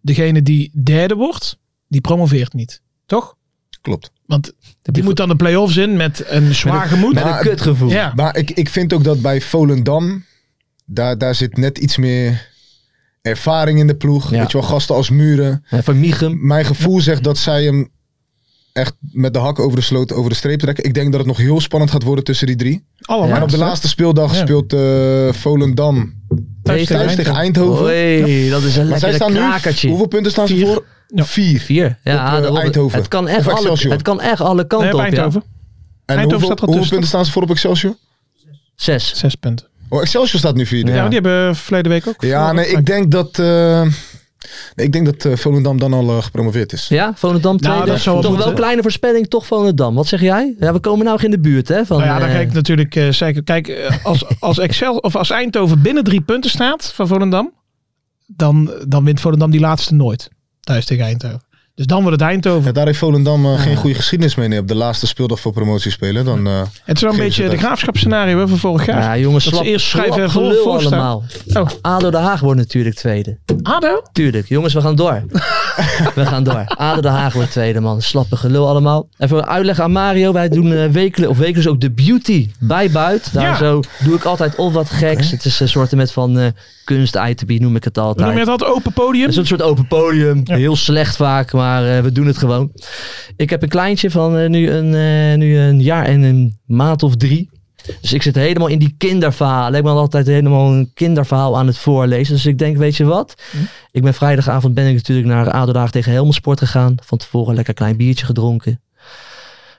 S3: Degene die derde wordt, die promoveert niet. Toch?
S4: Klopt.
S3: Want
S2: Heb
S3: die
S2: je
S3: moet dan de play-offs in met een zwaar gemoed.
S2: Met een
S4: Maar-
S2: kutgevoel.
S3: ja.
S4: Maar ik, ik vind ook dat bij Volendam... Daar, daar zit net iets meer ervaring in de ploeg.
S2: Ja.
S4: Weet je wel, gasten als Muren.
S2: Eh, Van Michum.
S4: Mijn gevoel zegt dat zij hem echt met de hak over de sloot over de streep trekken. Ik denk dat het nog heel spannend gaat worden tussen die drie.
S3: Allemaal.
S2: Ja,
S4: En op de laatste speeldag
S3: Ja.
S4: speelt eh, Volendam
S3: Thuis
S4: thuis tegen Eindhoven.
S2: Oei, dat is een
S4: Maar zij
S2: Oh, eh, lekker
S4: staan nu,
S2: krakertje.
S4: hoeveel punten staan ze
S3: Vier.
S4: voor?
S3: Ja.
S4: Vier.
S2: Vier. Ja,
S4: Op, eh,
S2: dat- dat-
S4: Eindhoven.
S2: Het kan,
S4: Of
S2: echt alle,
S4: Excelsior.
S2: het kan echt alle kanten
S3: Nee, op
S2: op. ja.
S3: Eindhoven.
S4: En
S3: Eindhoven
S4: hoeveel,
S3: staat er
S4: hoeveel
S3: tussen.
S4: punten staan ze voor op Excelsior?
S2: Zes.
S3: Zes punten.
S4: Oh, Excelsior staat nu vierde.
S3: Ja,
S4: Ja,
S2: Ja.
S3: maar die hebben verleden week ook. Nou
S4: nee, ik denk dat, eh, nee, ik denk dat eh, Volendam dan al eh, gepromoveerd is.
S2: Ja, Volendam tweede.
S3: Nou, dat zou wel
S2: toch wel
S3: moeten.
S2: kleine voorspelling, toch Volendam. Wat zeg jij? Ja, we komen nou nog in de buurt, hè? Van,
S3: Nou ja, dan
S2: eh,
S3: kijk ik natuurlijk eh, zeker. Kijk, eh, als, als, Excel, of als Eindhoven binnen drie punten staat van Volendam, dan, dan wint Volendam die laatste nooit. Thuis tegen Eindhoven. Dus dan wordt het Eindhoven.
S4: Ja, daar heeft Volendam eh, geen goede geschiedenis mee. Nee, op de laatste speeldag voor promotie spelen. Dan, eh,
S3: Het is wel een
S4: Geef ze
S3: beetje
S4: het
S3: de
S4: even.
S3: graafschapsscenario hè, van vorig jaar.
S2: ja, jongens,
S3: Dat
S2: slap,
S3: ze eerst vrij
S2: slap
S3: ver voor-
S2: gelul
S3: voor staan.
S2: allemaal.
S3: Oh.
S2: ADO Den Haag wordt natuurlijk tweede.
S3: ADO?
S2: Tuurlijk, jongens, we gaan door. we gaan door. ADO Den Haag wordt tweede, man. Slappe gelul allemaal. Even uitleggen aan Mario. Wij doen eh wekelijks of wekelijks ook de beauty bij Buit. Daar
S3: Ja.
S2: zo doe ik altijd of wat geks. Het is een soort met van eh kunst-ITB, noem ik het
S3: We
S2: altijd.
S3: noemen het altijd open podium.
S2: Het is een soort open podium. Heel slecht vaak, maar eh, we doen het gewoon. Ik heb een kleintje van eh, nu, een, eh, nu een jaar en een maand of drie. Dus ik zit helemaal in die kinderverhalen. Ik ben altijd helemaal een kinderverhaal aan het voorlezen. Dus ik denk, weet je wat? Ik ben vrijdagavond ben ik natuurlijk naar Adelhaag tegen Helmersport gegaan. Van tevoren lekker klein biertje gedronken.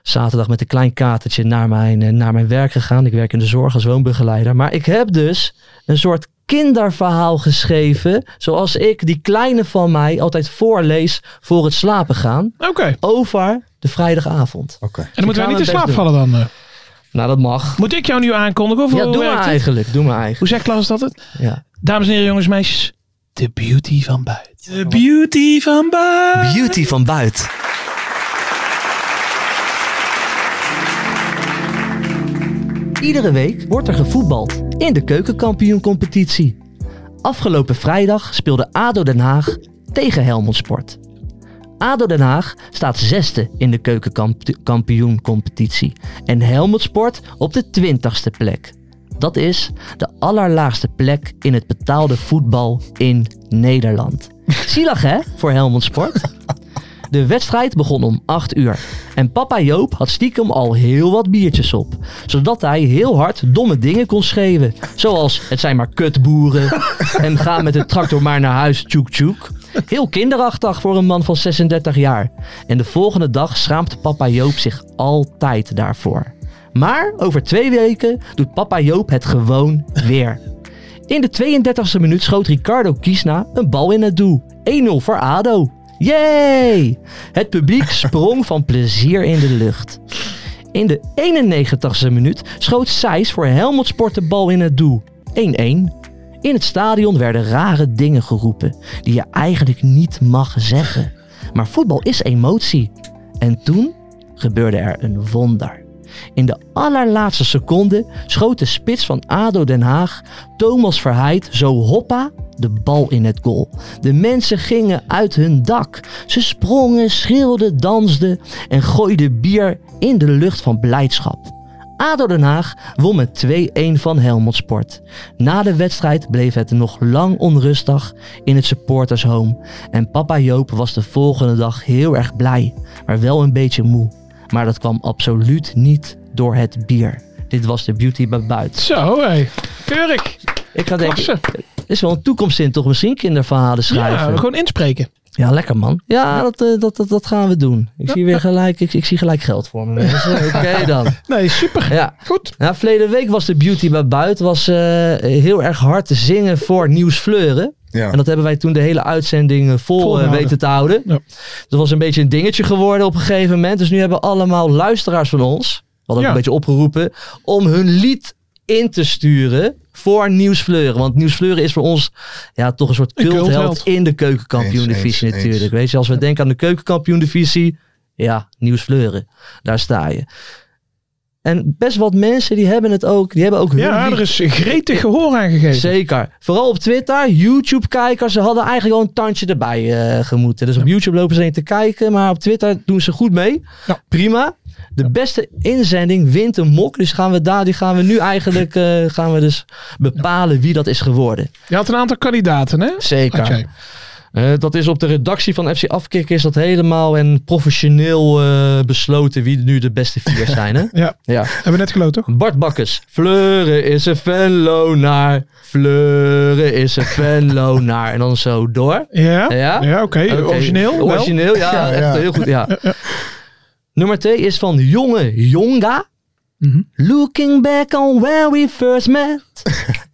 S2: Zaterdag met een klein katertje naar mijn, eh, naar mijn werk gegaan. Ik werk in de zorg als woonbegeleider. Maar ik heb dus een soort kinderverhaal geschreven. Zoals ik die kleine van mij altijd voorlees voor het slapen gaan.
S3: Oké. En
S2: Over de vrijdagavond.
S4: Oké.
S3: dan moeten
S2: gaan
S3: wij niet in
S2: het best
S3: slaap
S2: doen.
S3: vallen dan. eh.
S2: Nou, dat mag.
S3: Moet ik jou nu aankondigen? Of
S2: Ja, doe
S3: hoe werkt
S2: maar
S3: het?
S2: eigenlijk. Doe maar eigenlijk.
S3: Hoe zegt Klaas dat het?
S2: Ja.
S3: Dames en heren, jongens en meisjes. De beauty van buiten. De beauty van buiten.
S2: Beauty van buiten. Iedere week wordt er gevoetbald in de keukenkampioencompetitie. Afgelopen vrijdag speelde ADO Den Haag tegen Helmond Sport. ADO Den Haag staat zesde in de keukenkampioencompetitie en Helmond Sport op de twintigste plek. Dat is de allerlaagste plek in het betaalde voetbal in Nederland. Zielig hè, voor Helmond Sport? De wedstrijd begon om 8 uur. En papa Joop had stiekem al heel wat biertjes op. Zodat hij heel hard domme dingen kon schreeuwen. Zoals, het zijn maar kutboeren. en ga met de tractor maar naar huis, tjoek tjoek. Heel kinderachtig voor een man van 36 jaar. En de volgende dag schaamt papa Joop zich altijd daarvoor. Maar over twee weken doet papa Joop het gewoon weer. In de 32e minuut schoot Ricardo Kiesna een bal in het doel. 1-0 voor ADO. Yay! Het publiek sprong van plezier in de lucht. In de 91e minuut schoot Sijs voor Helmond Sport de bal in het doel. 1-1. In het stadion werden rare dingen geroepen die je eigenlijk niet mag zeggen. Maar voetbal is emotie. En toen gebeurde er een wonder. In de allerlaatste seconde schoot de spits van ADO Den Haag, Thomas Verheid, zo hoppa de bal in het goal. De mensen gingen uit hun dak. Ze sprongen, schreeuwden, dansten en gooiden bier in de lucht van blijdschap. ADO Den Haag won met 2-1 van Helmond Sport. Na de wedstrijd bleef het nog lang onrustig in het supporters home. En papa Joop was de volgende dag heel erg blij, maar wel een beetje moe. Maar dat kwam absoluut niet door het bier. Dit was de beauty bij buiten.
S3: Zo, hé. Keurig.
S2: Ik ga denken,
S3: Klasse.
S2: er is wel een toekomstzin toch misschien kinderverhalen
S3: Ja,
S2: schrijven. Ja,
S3: gewoon inspreken.
S2: lekker man. Ja, dat, eh, dat, dat, dat gaan we doen. Ik zie weer gelijk, ik, ik zie gelijk geld voor me. Dus, eh, Oké dan.
S3: Nee, super.
S2: Ja.
S3: Goed.
S2: Nou, verleden week was de beauty bij buiten was eh, heel erg hard te zingen voor Nieuws Fleuren.
S4: Ja.
S2: En dat hebben wij toen de hele uitzending eh, vol eh,
S3: Volgehouden.
S2: weten te houden.
S3: Ja.
S2: Dat was een beetje een dingetje geworden op een gegeven moment. Dus nu hebben allemaal luisteraars van ons, wat ook
S3: Ja.
S2: een beetje opgeroepen, om hun lied in te sturen voor Nieuws Fleuren. Want Nieuws Fleuren is voor ons ja, toch een soort
S3: Een
S2: cultheld
S3: cultheld.
S2: in de keukenkampioen-divisie
S4: Eens, eens,
S2: natuurlijk.
S4: eens.
S2: Weet je, als we denken aan de keukenkampioen-divisie, ja, Nieuws Fleuren, daar sta je. En best wat mensen die hebben het ook, die hebben ook hun
S3: Ja,
S2: lied
S3: er is gretig gehoor aan gegeven.
S2: Zeker. Vooral op Twitter, YouTube-kijkers, ze hadden eigenlijk al een tandje erbij eh, gemoeten. Dus op YouTube lopen ze heen te kijken, maar op Twitter doen ze goed mee.
S3: Ja.
S2: Prima. De beste inzending wint een mok. Dus gaan we daar, die gaan we nu eigenlijk eh, gaan we dus bepalen wie dat is geworden.
S3: Je had een aantal kandidaten, hè?
S2: Zeker.
S3: Had jij.
S2: Eh, dat is op de redactie van FC Afkick is dat helemaal en professioneel eh, besloten wie nu de beste vier zijn. Hè?
S3: Ja,
S2: Ja.
S3: hebben we net geloot, toch?
S2: Bart Bakkers. Fleuren is een Venlonaar. Fleuren is een Venlonaar. En dan zo door.
S3: Ja.
S2: Ja?
S3: Ja, oké.
S2: Oké,
S3: Origineel. wel.
S2: Origineel, ja.
S4: Ja,
S2: echt
S4: ja.
S2: heel goed, ja. Nummer twee is van Jonge Jonga.
S3: Mhm.
S2: Looking back on where we first met.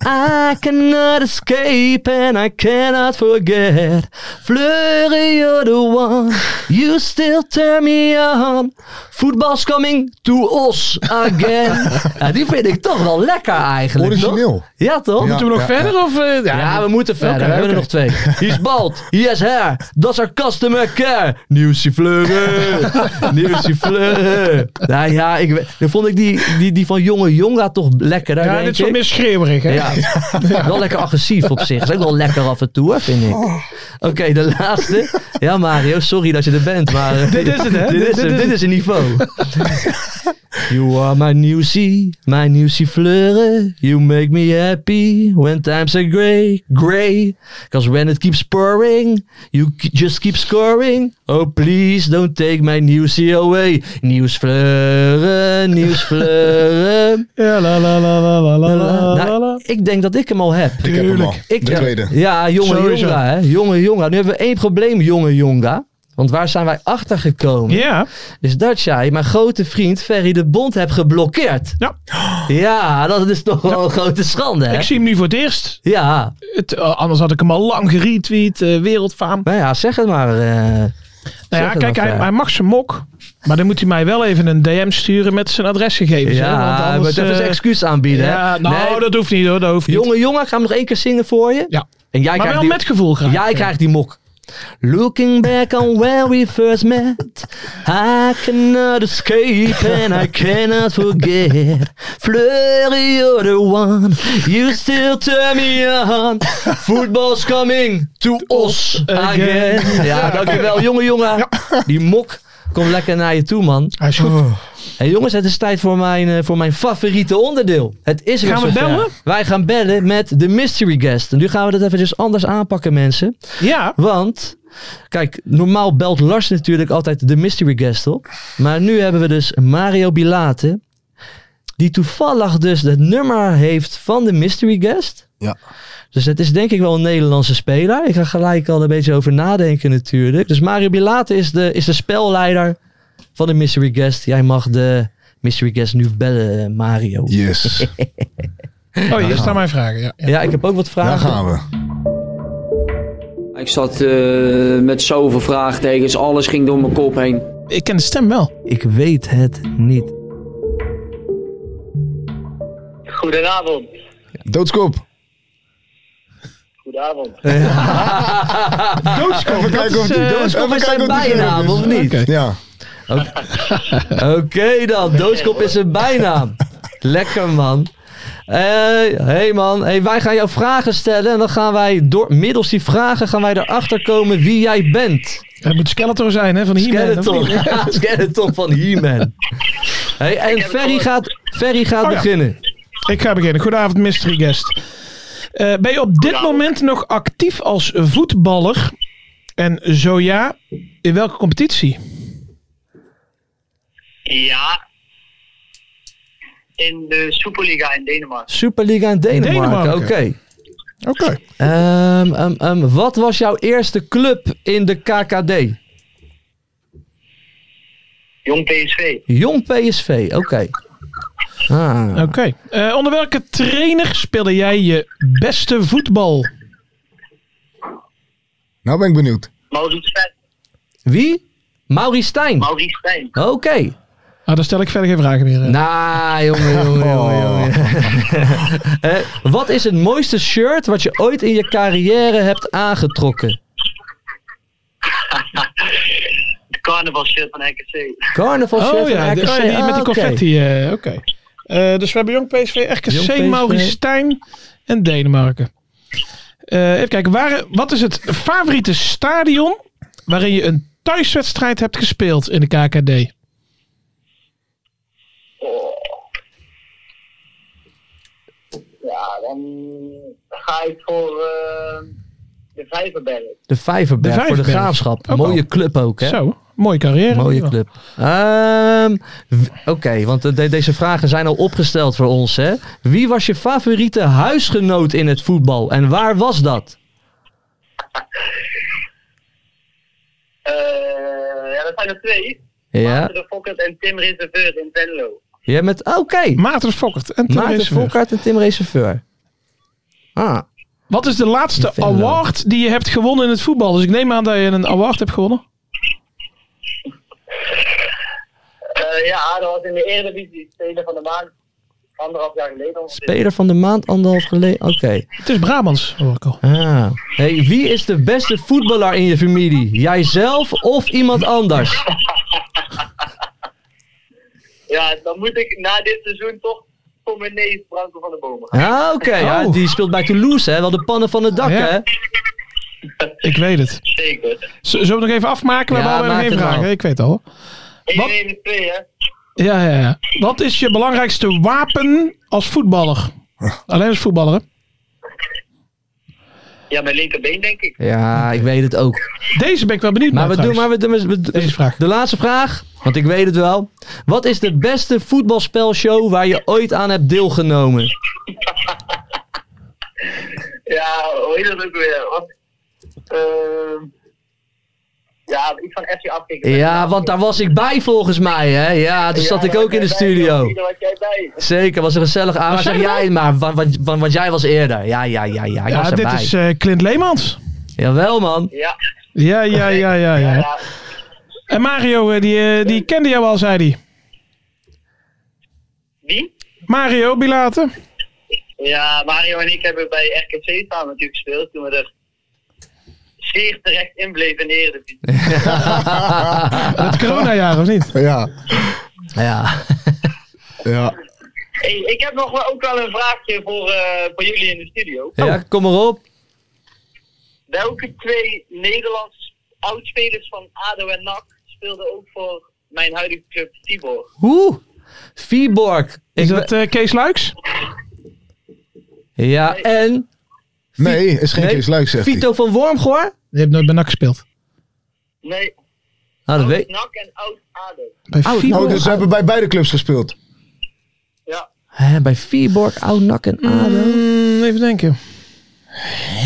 S2: I cannot escape and I cannot forget. Fleury, you're the one. You still turn me on. Football's coming to us again. ja, die vind ik toch wel lekker eigenlijk. Toch?
S4: Origineel.
S2: Ja, toch?
S4: Ja.
S3: Moeten we nog verder? Of, eh,
S2: Ja, we moeten verder.
S3: Oké,
S2: we hebben er nog
S3: oké.
S2: twee. He's bald. He has hair. That's our customer care. Nieuwsje fleuren. Nieuwsje fleuren. Nou ja, ik, weet- dan vond ik die, die, die van jonge jonga toch lekker.
S3: Ja, dit is wat meer schreeuwerig, hè?
S2: ja. wel lekker agressief op zich. Is ook wel lekker af en toe, hè, vind ik.
S3: Oh.
S2: Oké, de laatste. Ja, Mario, sorry dat je er bent, maar... eh,
S3: Dit is het,
S2: Dit,
S3: hè? Dit-
S2: is,
S3: dit
S2: het,
S3: is
S2: dit
S3: het.
S2: is een niveau. You are my new sea, my new sea fleuren. You make me happy when times are grey, grey. Cause when it keeps pouring, you k- just keep scoring. Oh please don't take my new sea away. Nieuws fleuren, nieuws fleuren.
S3: Ja, la la la la la la la la,
S2: Nou,
S3: la.
S2: ik denk dat ik hem al heb.
S4: Ik heb hem al.
S2: Ik,
S4: de
S2: ja,
S4: tweede.
S2: Ja, jonge
S3: Sowieso.
S2: jonga, hè. Jonge jonga. Nu hebben we één probleem, jonge jonga. Want waar zijn wij achter gekomen?
S3: Ja,
S2: Is dat jij mijn grote vriend Ferry de Bond hebt geblokkeerd?
S3: Ja.
S2: Ja, dat is toch wel een grote schande, hè?
S3: ik zie hem nu voor het eerst.
S2: Ja,
S3: Het, eh, anders had ik hem al lang geretweet, eh, wereldfaam.
S2: nou ja, zeg het maar. eh. Zeg
S3: Nou ja,
S2: het
S3: kijk,
S2: maar,
S3: hij,
S2: Fer.
S3: hij mag zijn mok, maar dan moet hij mij wel even een DM sturen met zijn adresgegevens. hè, want
S2: ja, je
S3: anders,
S2: moet even zijn
S3: eh,
S2: excuus aanbieden, hè?
S3: Ja, nou,
S2: Nee,
S3: dat hoeft niet hoor, dat hoeft niet.
S2: Jonge jonga, ik ga hem nog één keer zingen voor je.
S3: Ja.
S2: En jij
S3: maar
S2: krijgt
S3: wel
S2: die-
S3: met gevoel graag.
S2: Jij krijgt die mok. Looking back on where we first met, I cannot escape and I cannot forget. Fleury, you're the one, you still turn me on. Football's coming to us again. Ja, dankjewel, jonge jongen. Die mok komt lekker naar je toe, man.
S3: Hij is goed.
S2: Oh. Hey jongens, het is tijd voor mijn, eh, voor mijn favoriete onderdeel. Het is weer
S3: Gaan we
S2: zover.
S3: bellen?
S2: Wij gaan bellen met de mystery guest. En nu gaan we dat eventjes anders aanpakken, mensen.
S3: Ja,
S2: Want, kijk, normaal belt Lars natuurlijk altijd de mystery guest op. Maar nu hebben we dus Mario Bilate. Die toevallig dus het nummer heeft van de mystery guest.
S4: Ja.
S2: Dus het is denk ik wel een Nederlandse speler. Ik ga gelijk al een beetje over nadenken natuurlijk. Dus Mario Bilate is de, is de spelleider van de mystery guest. Jij mag de mystery guest nu bellen, eh, Mario.
S4: Yes.
S3: oh, hier staan mijn vragen. Ja, ja.
S2: Ja, ik heb ook wat
S4: Daar
S2: vragen.
S4: gaan we.
S6: Ik zat eh, met zoveel vraagtekens, alles ging door mijn kop heen.
S3: Ik ken de stem wel.
S2: Ik weet het niet.
S7: Goedenavond.
S4: Doodskop.
S7: Goedenavond.
S4: Doodskop. Even kijken of die
S2: eh, Doodskop
S4: even
S2: is
S4: kijken
S2: zijn
S4: of die
S2: bijnaam,
S4: scherp
S2: of niet?
S4: is. Ja.
S2: Oké dan, doodskop is een bijnaam. Lekker man. Hé hey man, hey, wij gaan jou vragen stellen en dan gaan wij door, middels die vragen gaan wij erachter komen wie jij bent.
S3: Het moet Skeletor zijn, hè, van hier.
S2: Skeleton. Ja, Skeleton van He-Man. Hey, en Ferry gaat, Ferry gaat
S3: Oh, ja.
S2: beginnen.
S3: Ik ga beginnen. Goedenavond, mystery guest. Eh, ben je op dit moment nog actief als voetballer? En zo ja, in welke competitie?
S7: Ja. In de Superliga in Denemarken.
S2: Superliga in Denemarken,
S3: Denemarken.
S2: oké.
S3: Oké.
S2: Ehm, ehm, ehm, wat was jouw eerste club in de KKD?
S7: Jong PSV.
S2: Jong PSV, oké. Ah.
S3: Oké. Eh, onder welke trainer speelde jij je beste voetbal?
S4: Nou ben ik benieuwd.
S7: Maurice Stijn.
S2: Wie? Mauri Stijn.
S7: Maurice Stijn.
S2: Oké.
S3: Nou, dan stel ik verder geen vragen meer. eh.
S2: Nou, jongen, jongen, jongen, jongen. Eh, wat is het mooiste shirt wat je ooit in je carrière hebt aangetrokken?
S7: De carnavalshirt van RKC.
S2: Carnaval shirt
S3: Oh ja,
S2: van
S3: de-
S2: RKC.
S3: oh, die met die
S2: Ah, oké.
S3: confetti. eh, Oké. Eh, dus we hebben Jong PSV,
S2: Jong
S3: RKC,
S2: PSV.
S3: Maurice Stijn en Denemarken. Eh, even kijken, waar, wat is het favoriete stadion waarin je een thuiswedstrijd hebt gespeeld in de KKD?
S7: Ja, dan ga ik voor eh, de Vijverberg.
S2: De Vijverberg
S3: De
S2: voor de
S3: Vijverberg.
S2: Graafschap.
S3: Ook
S2: Mooie
S3: al.
S2: club ook, hè?
S3: Zo, mooie carrière.
S2: Mooie club. Ehm, w- Oké, want eh, de- deze vragen zijn al opgesteld voor ons, hè? Wie was je favoriete huisgenoot in het voetbal en waar was dat?
S7: Eh, ja, dat zijn er twee.
S2: Ja,
S7: Maarten de Fokkert en Tim Reserveur in Venlo.
S2: jij met. oh, Oké.
S3: Maarten Fokkert en Tim
S2: Maarten
S3: Reeseveur.
S2: Volkaart en Tim Reserveur. Ah,
S3: Wat is de laatste
S2: Venlo.
S3: award die je hebt gewonnen in het voetbal? Dus ik neem aan dat je een award hebt gewonnen.
S7: Eh, ja, dat was in de Eredivisie. Speler van de maand. Anderhalf jaar geleden ongeveer.
S2: speler van de maand, anderhalf geleden. Oké.
S3: Het is Brabants, hoor ik al.
S2: Ah. Hey, wie is de beste voetballer in je familie? Jijzelf of iemand anders?
S7: Ja, dan moet ik na dit seizoen toch voor mijn neef Branko van de Bomen gaan.
S2: Ah, oké. Ja,
S3: Oh.
S2: die speelt bij Toulouse, hè? Wel de pannen van het dak,
S3: Ja.
S2: hè?
S3: Ik weet het.
S7: Zeker.
S3: Z- Zullen we het nog even afmaken? We
S2: Ja,
S3: hebben allebei nog
S2: maak
S3: geen
S2: het
S3: vragen.
S2: wel.
S3: Ik weet het al. Wat?
S7: 1 1 2 hè?
S3: Ja, ja, ja. Wat is je belangrijkste wapen als voetballer? Alleen als voetballer, hè?
S7: Ja, mijn linkerbeen denk ik.
S2: Ja, ik weet het ook.
S3: Deze ben ik wel benieuwd
S2: Maar
S3: naar
S2: we doen, maar
S3: trouwens.
S2: we doen, we- we-
S3: Deze vraag.
S2: De laatste vraag, want ik weet het wel. Wat is de beste voetbalspelshow waar je ooit aan hebt deelgenomen?
S7: Ja, hoe heet dat ook weer? Wat? Ehm, ja, iets van FC afkicken.
S2: Ja, want daar was ik bij volgens mij, hè? Ja, toen zat ik ook in de studio.
S7: Daar was jij bij.
S2: Zeker, was een gezellig avond.
S3: Was
S2: Zeg
S3: jij
S2: jij maar, want, want, want, want jij was eerder. Ja, ja, ja, ja. Ik
S3: Ja,
S2: was
S3: dit
S2: erbij.
S3: is eh, Clint Leemans.
S2: Jawel, man.
S7: Ja,
S3: Ja, ja, ja, ja, ja.
S7: ja.
S3: En Mario, eh, die, eh, die kende jou al, zei hij.
S7: Wie?
S3: Mario Bilate.
S7: Ja, Mario en ik hebben bij RKC samen natuurlijk gespeeld toen we er zeer terecht in bleven in de Eredivisie.
S2: Oh.
S3: Het coronajaar, of niet?
S4: Ja,
S2: Ja.
S4: ja.
S7: Hey, ik heb nog wel, ook wel een vraagje voor, eh, voor jullie in de studio.
S2: ja, kom maar op.
S7: Welke twee Nederlands oudspelers van ADO en NAC speelden ook voor mijn huidige club Tibor?
S2: Oeh. Viborg.
S3: Is
S2: Ik
S3: dat eh, Kees Luiks?
S2: ben- ja, en...
S4: Nee, is geen
S2: nee,
S4: Kees Luik, zegt hij.
S2: Vito van Wormgoor?
S3: Die heeft nooit bij NAC gespeeld.
S7: Nee,
S2: Nou, dat
S7: oud
S2: weet
S7: NAC en oud ADO.
S3: Bij
S2: Oud-
S3: Fibo.
S4: Oh, dus ze hebben bij beide clubs gespeeld.
S7: Ja.
S2: Hè, Bij Viborg, Oudnak en ADO?
S3: Mm, even denken.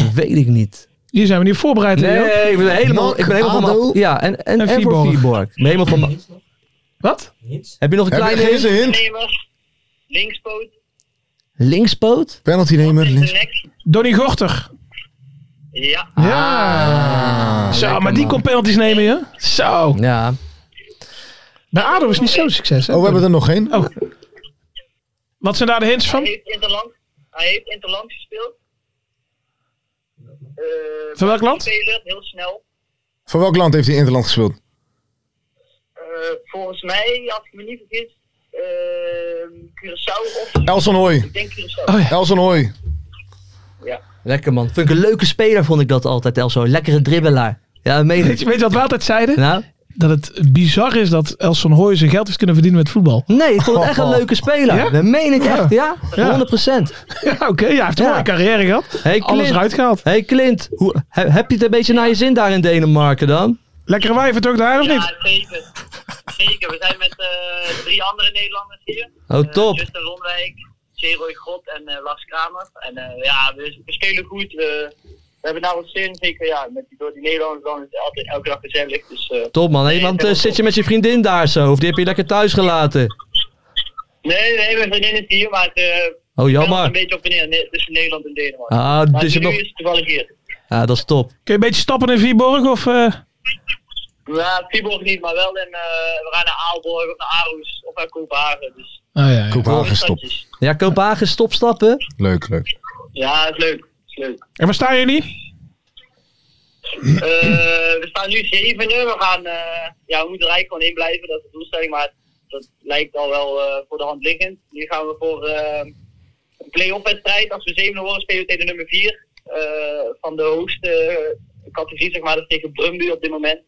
S2: Dat weet ik niet.
S3: Hier zijn we niet op voorbereid. hè, joh?
S2: Nee, ik ben helemaal, ik ben helemaal van
S4: ADO.
S2: mijn- Ja, en, en, en,
S3: En
S2: voor
S3: Viborg.
S2: Viborg. Ik ben helemaal van mijn-
S3: Wat?
S5: Hits?
S2: Heb je nog een
S4: Heb je
S2: kleine
S4: geen eens een hint?
S7: Nemer, linkspoot,
S2: linkspoot?
S4: Penalty nemen.
S7: de
S4: links.
S7: nek.
S3: Donny Gorter.
S7: Ja,
S3: Ja.
S4: Ah,
S3: Zo, maar die kon penalties nemen, joh. Zo.
S2: Ja.
S3: Bij ADO is niet zo'n succes, hè?
S4: Oh, we hebben er nog één.
S3: Oh. Wat zijn daar de hints
S7: hij
S3: van?
S7: heeft Interland, hij heeft Interland gespeeld. Eh,
S3: Van welk land?
S7: Speler, heel snel.
S4: Voor welk land heeft hij Interland gespeeld?
S7: Eh, volgens mij, als ik me niet vergis, eh, Curaçao of...
S4: Elson Hooy.
S7: Ik denk Curaçao.
S4: Elson Hooy.
S2: Lekker man. Vind ik een leuke speler, vond ik dat altijd, Elso. Lekkere dribbelaar. Ja, meen
S3: Weet je,
S2: ik.
S3: weet je wat we altijd zeiden?
S2: Nou?
S3: Dat het bizar is dat Elson Hooy zijn geld heeft kunnen verdienen met voetbal.
S2: Nee, ik vond het echt een leuke speler.
S3: Oh. Ja?
S2: Dat meen ik echt, ja. 100%.
S3: Ja, oké. ja, hij heeft wel
S2: Ja.
S3: een carrière gehad.
S2: Hey,
S3: Alles
S2: Clint.
S3: eruit gehaald.
S2: hey Clint, hoe, he- heb je het een beetje naar je zin daar in Denemarken dan?
S3: Lekkere wijven toch daar, of niet?
S7: Ja, zeker. Zeker. We zijn met eh, drie andere Nederlanders hier.
S2: Oh,
S7: Eh,
S2: top.
S7: Justin Rondwijk, Jeroy Grot en eh, Lars Kramer. En eh, ja, we, we spelen goed. eh, we hebben nou wat zin. Zeker ja, met, die- door die Nederlanders dan is het altijd elke dag gezellig. Dus eh,
S2: Top man. Hey, want eh, zit je met je vriendin daar zo? Of die heb je lekker thuis gelaten?
S7: nee, nee, mijn vriendin is hier, maar het eh,
S2: Oh,
S7: wel een
S2: jammer.
S7: beetje op en neer ne- tussen Nederland en Denemarken.
S2: Ah,
S7: maar
S2: dus je
S7: nu
S2: nog...
S7: is het toevallig hier.
S2: Ja, dat is top.
S3: Kun je een beetje stappen in Vierborg of... eh,
S7: Ja, Viborg niet, maar wel. En we gaan naar Aalborg of naar Aarhus of naar Kopenhagen. Dus
S3: Nou ja, ja.
S4: Kopenhagen gestopt.
S7: stadjes.
S2: Ja, Kopenhagen, stopstappen.
S4: Leuk, leuk.
S7: Ja, het is leuk. Het is leuk.
S3: En waar staan jullie?
S7: Eh, we staan nu zevende. We gaan, eh, ja, we moeten er eigenlijk gewoon in blijven. Dat is de doelstelling, maar dat lijkt al wel eh, voor de hand liggend. Nu gaan we voor eh, een play-off wedstrijd. Als we zevende worden, spelen we tegen nummer vier eh, van de hoogste eh, categorie, zeg maar. Dat is tegen Brumby op dit moment.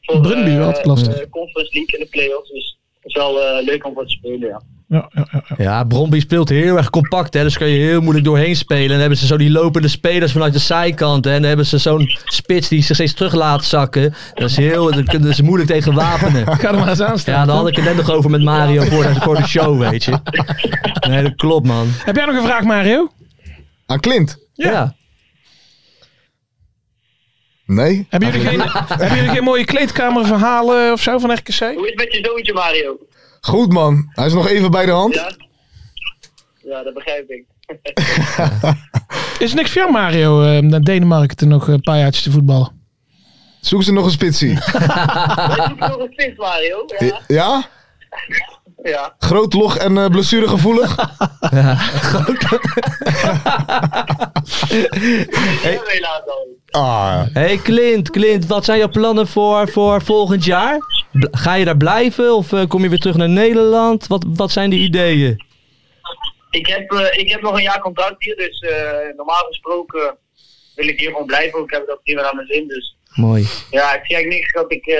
S7: Voor,
S3: Brøndby,
S7: eh,
S3: altijd lastig.
S7: eh, Conference League in de play-offs. Dus het is wel eh, leuk om voor te spelen, ja.
S3: Ja, ja, ja.
S2: Ja, Bromby speelt heel erg compact, hè. Dus kan je heel moeilijk doorheen spelen. En dan hebben ze zo die lopende spelers vanuit de zijkant. hè. En dan hebben ze zo'n spits die zich steeds terug laat zakken. Dat is heel... Dan kunnen ze moeilijk tegen wapenen.
S3: Ga er maar eens aan staan.
S2: Ja, daar had ik het net nog over met Mario voor de, voor de show, weet je. Nee, dat klopt, man.
S3: Heb jij nog een vraag, Mario?
S4: Aan Clint?
S2: Ja.
S4: Nee?
S3: Hebben jullie, geen, hebben jullie geen mooie kleedkamerverhalen of zo van RKC?
S7: Hoe is het met je zoontje, Mario?
S4: Goed, man. Hij is nog even bij de hand.
S7: Ja? Ja, dat begrijp ik.
S3: Is er niks voor jou, Mario, eh, om naar Denemarken te nog een paar jaartjes te voetballen?
S4: Zoek ze nog een spitsie.
S7: Wij zoeken nog een vis, Mario. Ja.
S4: Ja?
S7: ja.
S4: Groot log en eh, blessuregevoelig?
S7: Hey. Helaas al.
S4: Ah,
S2: hey, Clint, Clint, wat zijn jouw plannen voor, voor volgend jaar? Bl- Ga je daar blijven of eh, kom je weer terug naar Nederland? Wat, wat zijn de ideeën?
S7: Ik heb, eh, ik heb nog een jaar contract hier, dus eh, normaal gesproken wil ik hier gewoon blijven. want Ik heb dat prima aan mijn zin. Dus
S2: Mooi.
S7: ja, ik zie eigenlijk niks dat ik, eh,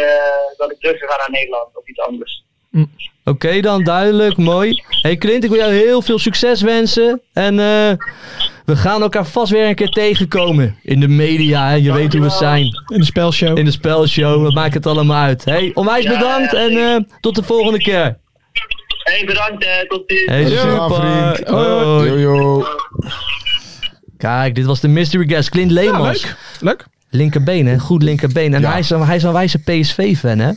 S7: dat ik terug zou gaan naar Nederland of iets anders.
S2: Oké dan, duidelijk, mooi. Hey Clint, ik wil jou heel veel succes wensen. En eh, we gaan elkaar vast weer een keer tegenkomen. In de media, hè. je weet hoe we zijn.
S3: In de spelshow.
S2: In de spelshow, dat maakt het allemaal uit. Hey, onwijs
S7: Ja,
S2: bedankt
S7: ja,
S2: en
S7: zeker.
S2: eh, tot de volgende keer.
S7: Hey, bedankt, eh, tot ziens.
S2: Hey,
S4: Tot
S2: super.
S4: gedaan, vriend. Oh,
S2: Hoi.
S4: Yo, yo.
S2: Kijk, dit was de mystery guest, Clint
S3: Ja,
S2: Leemans.
S3: leuk. Leuk.
S2: linkerbeen, hè? Goed linkerbeen. En
S4: Ja.
S2: hij, is, een- hij is een wijze PSV-fan, hè?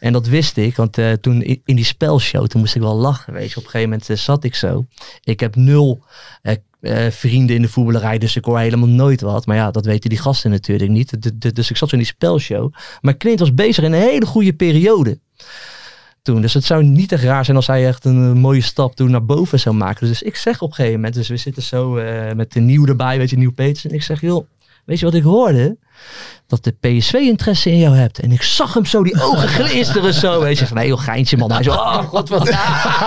S2: En dat wist ik, want eh, toen i- in die spelshow, toen moest ik wel lachen, weet je. Op een gegeven moment eh, zat ik zo. Ik heb nul eh, eh, vrienden in de voetballerij, dus ik hoor helemaal nooit wat. Maar ja, dat weten die gasten natuurlijk niet. D- d- dus ik zat zo in die spelshow. Maar Clint was bezig in een hele goede periode toen. Dus het zou niet echt raar zijn als hij echt een eh, mooie stap toen naar boven zou maken. Dus ik zeg op een gegeven moment, dus we zitten zo eh, met de nieuw erbij, weet je, nieuw Peters. En ik zeg, joh, weet je wat ik hoorde? Dat de PSV interesse in jou hebt. En ik zag hem zo die ogen glinsteren zo. Weet je, van nee joh, geintje man. Hij zo, oh god, wat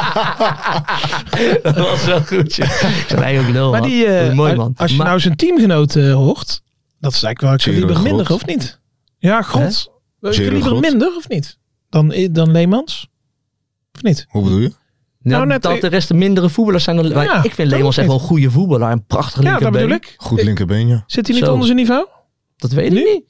S2: Dat was wel goed. joh. Ik zei, nee joh, lul
S3: Maar
S2: man.
S3: die, eh,
S2: Dat is mooi
S3: als-
S2: man.
S3: als je
S2: Maar-
S3: nou zijn teamgenoot eh, hoort, dat is eigenlijk wel een
S4: Tjere
S3: kaliber
S4: God.
S3: minder, of niet? Ja, god. Een
S4: Tjere
S3: kaliber
S4: God.
S3: minder, of niet? Dan, eh, dan Leemans? Of niet?
S4: Hoe bedoel je?
S2: nou,
S3: nou, net-
S2: dat de rest de mindere voetballers zijn. dan-
S3: Ja,
S2: ik
S3: dat
S2: vind Leemans
S3: hoeft
S2: echt wel een goede voetballer. Een prachtige
S3: Ja, dat
S2: linkerbeen.
S3: bedoel ik.
S4: Goed linkerbeen, ja.
S3: Zit hij niet
S2: Zo.
S3: onder zijn niveau?
S2: Dat weet
S3: Nu?
S2: ik niet.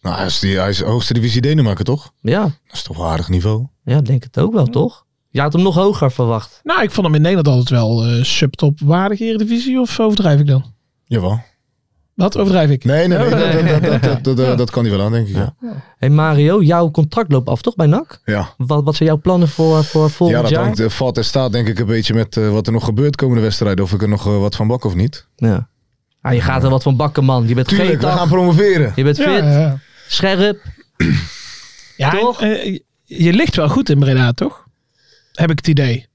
S4: Nou, hij is, die, hij is hoogste divisie Denemarken, toch?
S2: Ja.
S4: Dat is toch wel aardig niveau?
S2: Ja, ik denk het ook wel, toch? Jij had hem nog hoger verwacht.
S3: Nou, ik vond hem in Nederland altijd wel eh subtop waardig Eredivisie, of overdrijf ik dan?
S4: Jawel.
S3: Wat overdrijf ik?
S4: Nee, nee, nee.
S3: Ja,
S4: dat- Dat, dat, dat, dat, dat kan hij wel aan, denk ik. Ja,
S2: hey Mario, jouw contract loopt af, toch, bij NAC?
S4: ja.
S2: Wat, wat zijn jouw plannen voor, voor volgend
S4: ja dat
S2: jaar?
S4: hangt, eh, valt en staat denk ik een beetje met eh, wat er nog gebeurt komende wedstrijden. Of ik er nog eh, wat van bak of niet.
S2: Ja. Ah, je gaat er wat van bakken, man. Je bent geen
S4: Tuurlijk, we
S2: dag.
S4: gaan promoveren.
S2: Je bent fit,
S3: Ja, ja.
S2: scherp.
S3: ja en,
S2: Toch?
S3: eh, je ligt wel goed in Breda, toch? Heb ik het idee.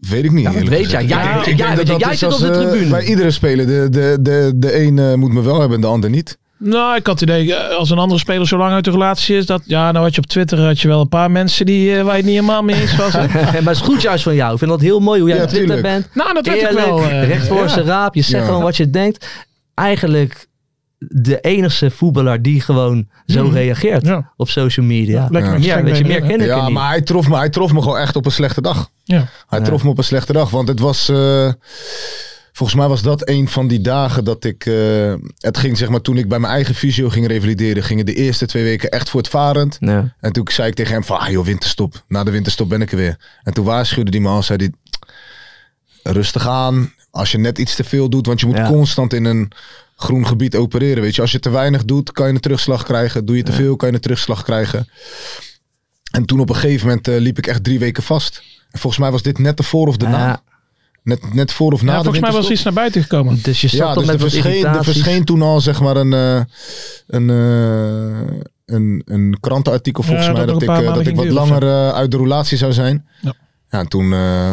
S4: Weet ik niet.
S2: dat
S4: eerlijk
S2: weet jij.
S4: gezegd.
S2: Jij-
S4: Ik denk-
S2: jij-
S4: ik denk dat
S2: jij
S4: dat
S2: zit
S4: is
S2: op
S4: als,
S2: de
S4: eh,
S2: tribune.
S4: Bij iedere speler. De, de, de, de een eh, moet me wel hebben, de ander niet.
S3: Nou, ik had het idee, eh, als een andere speler zo lang uit de relatie is, dat, ja, nou had je op Twitter had je wel een paar mensen die, eh, waar je het niet helemaal mee eens was. hè?
S2: maar het is goed juist van jou. Ik vind dat heel mooi hoe jij
S4: Ja,
S2: op Twitter
S4: tuurlijk.
S2: bent.
S3: nou, dat werd ik
S2: Eerlijk,
S3: wel. eh,
S2: recht voor
S3: ja.
S2: zijn raap. Je zegt
S4: Ja.
S2: gewoon wat je denkt. Eigenlijk de enige voetballer die gewoon zo reageert
S3: Hmm. Ja.
S2: op social media.
S3: Lekker met je
S2: Ja,
S3: stang
S2: weet je,
S3: benen
S2: meer
S3: in, hè?
S2: ken ik er
S4: Ja,
S2: niet.
S4: maar hij trof, me, hij trof me gewoon echt op een slechte dag.
S2: Nou,
S3: Ja.
S4: Hij trof me op een slechte dag, want het was... eh, volgens mij was dat een van die dagen dat ik... eh, het ging zeg maar, toen ik bij mijn eigen fysio ging revalideren... gingen de eerste twee weken echt voortvarend.
S2: Ja.
S4: En toen zei ik tegen hem van, ah joh, winterstop. Na de winterstop ben ik er weer. En toen waarschuwde die me al, zei die rustig aan. Als je net iets te veel doet, want je moet
S2: Ja.
S4: constant in een groen gebied opereren. Weet je, als je te weinig doet, kan je een terugslag krijgen. Doe je te veel, kan je een terugslag krijgen. En toen op een gegeven moment eh, liep ik echt drie weken vast. En volgens mij was dit net de voor of de
S2: Ja.
S4: na. Net, net voor of na
S3: Ja,
S4: de
S3: volgens mij was
S4: winterstop.
S3: iets naar buiten gekomen.
S2: Dus je zat
S4: Ja,
S2: dan
S4: dus
S2: met
S4: er
S2: wat
S4: verscheen, er
S2: irritaties.
S4: verscheen toen al zeg maar een, eh, een, eh, een, een krantenartikel
S3: Ja,
S4: volgens
S3: dat
S4: mij
S3: nog een
S4: dat ik,
S3: paar
S4: eh, dat
S3: maanden
S4: ik wat
S3: ging
S4: langer
S3: duren
S4: eh, uit de relatie zou zijn.
S3: Ja.
S4: Ja, en toen eh,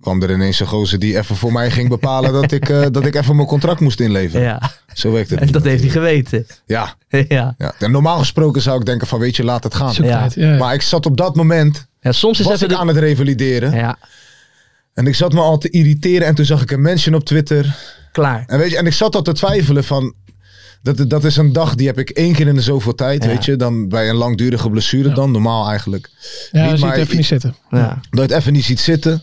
S4: kwam er ineens een gozer die even voor mij ging bepalen dat, ik, eh, dat ik even mijn contract moest inleveren.
S2: Ja,
S4: Zo werkt het.
S2: en dat
S4: niet
S2: heeft hij
S4: natuurlijk.
S2: geweten.
S4: ja,
S2: ja.
S4: ja. En normaal gesproken zou ik denken van weet je, laat het gaan.
S2: Ja.
S3: Zoektijd, ja.
S4: Maar ik zat op dat moment,
S2: ja, soms is
S4: was
S2: even
S4: ik
S2: de...
S4: aan het revalideren.
S2: Ja,
S4: En ik zat me al te irriteren en toen zag ik een mention op Twitter.
S2: klaar.
S4: En, weet je, en ik zat al te twijfelen van... Dat, dat is een dag, die heb ik één keer in de zoveel tijd,
S2: Ja.
S4: weet je. Dan bij een langdurige blessure dan, normaal eigenlijk.
S3: Ja,
S4: niet,
S3: je ziet
S4: maar-
S3: even niet zitten.
S2: Ja.
S4: Dat je het even niet ziet zitten.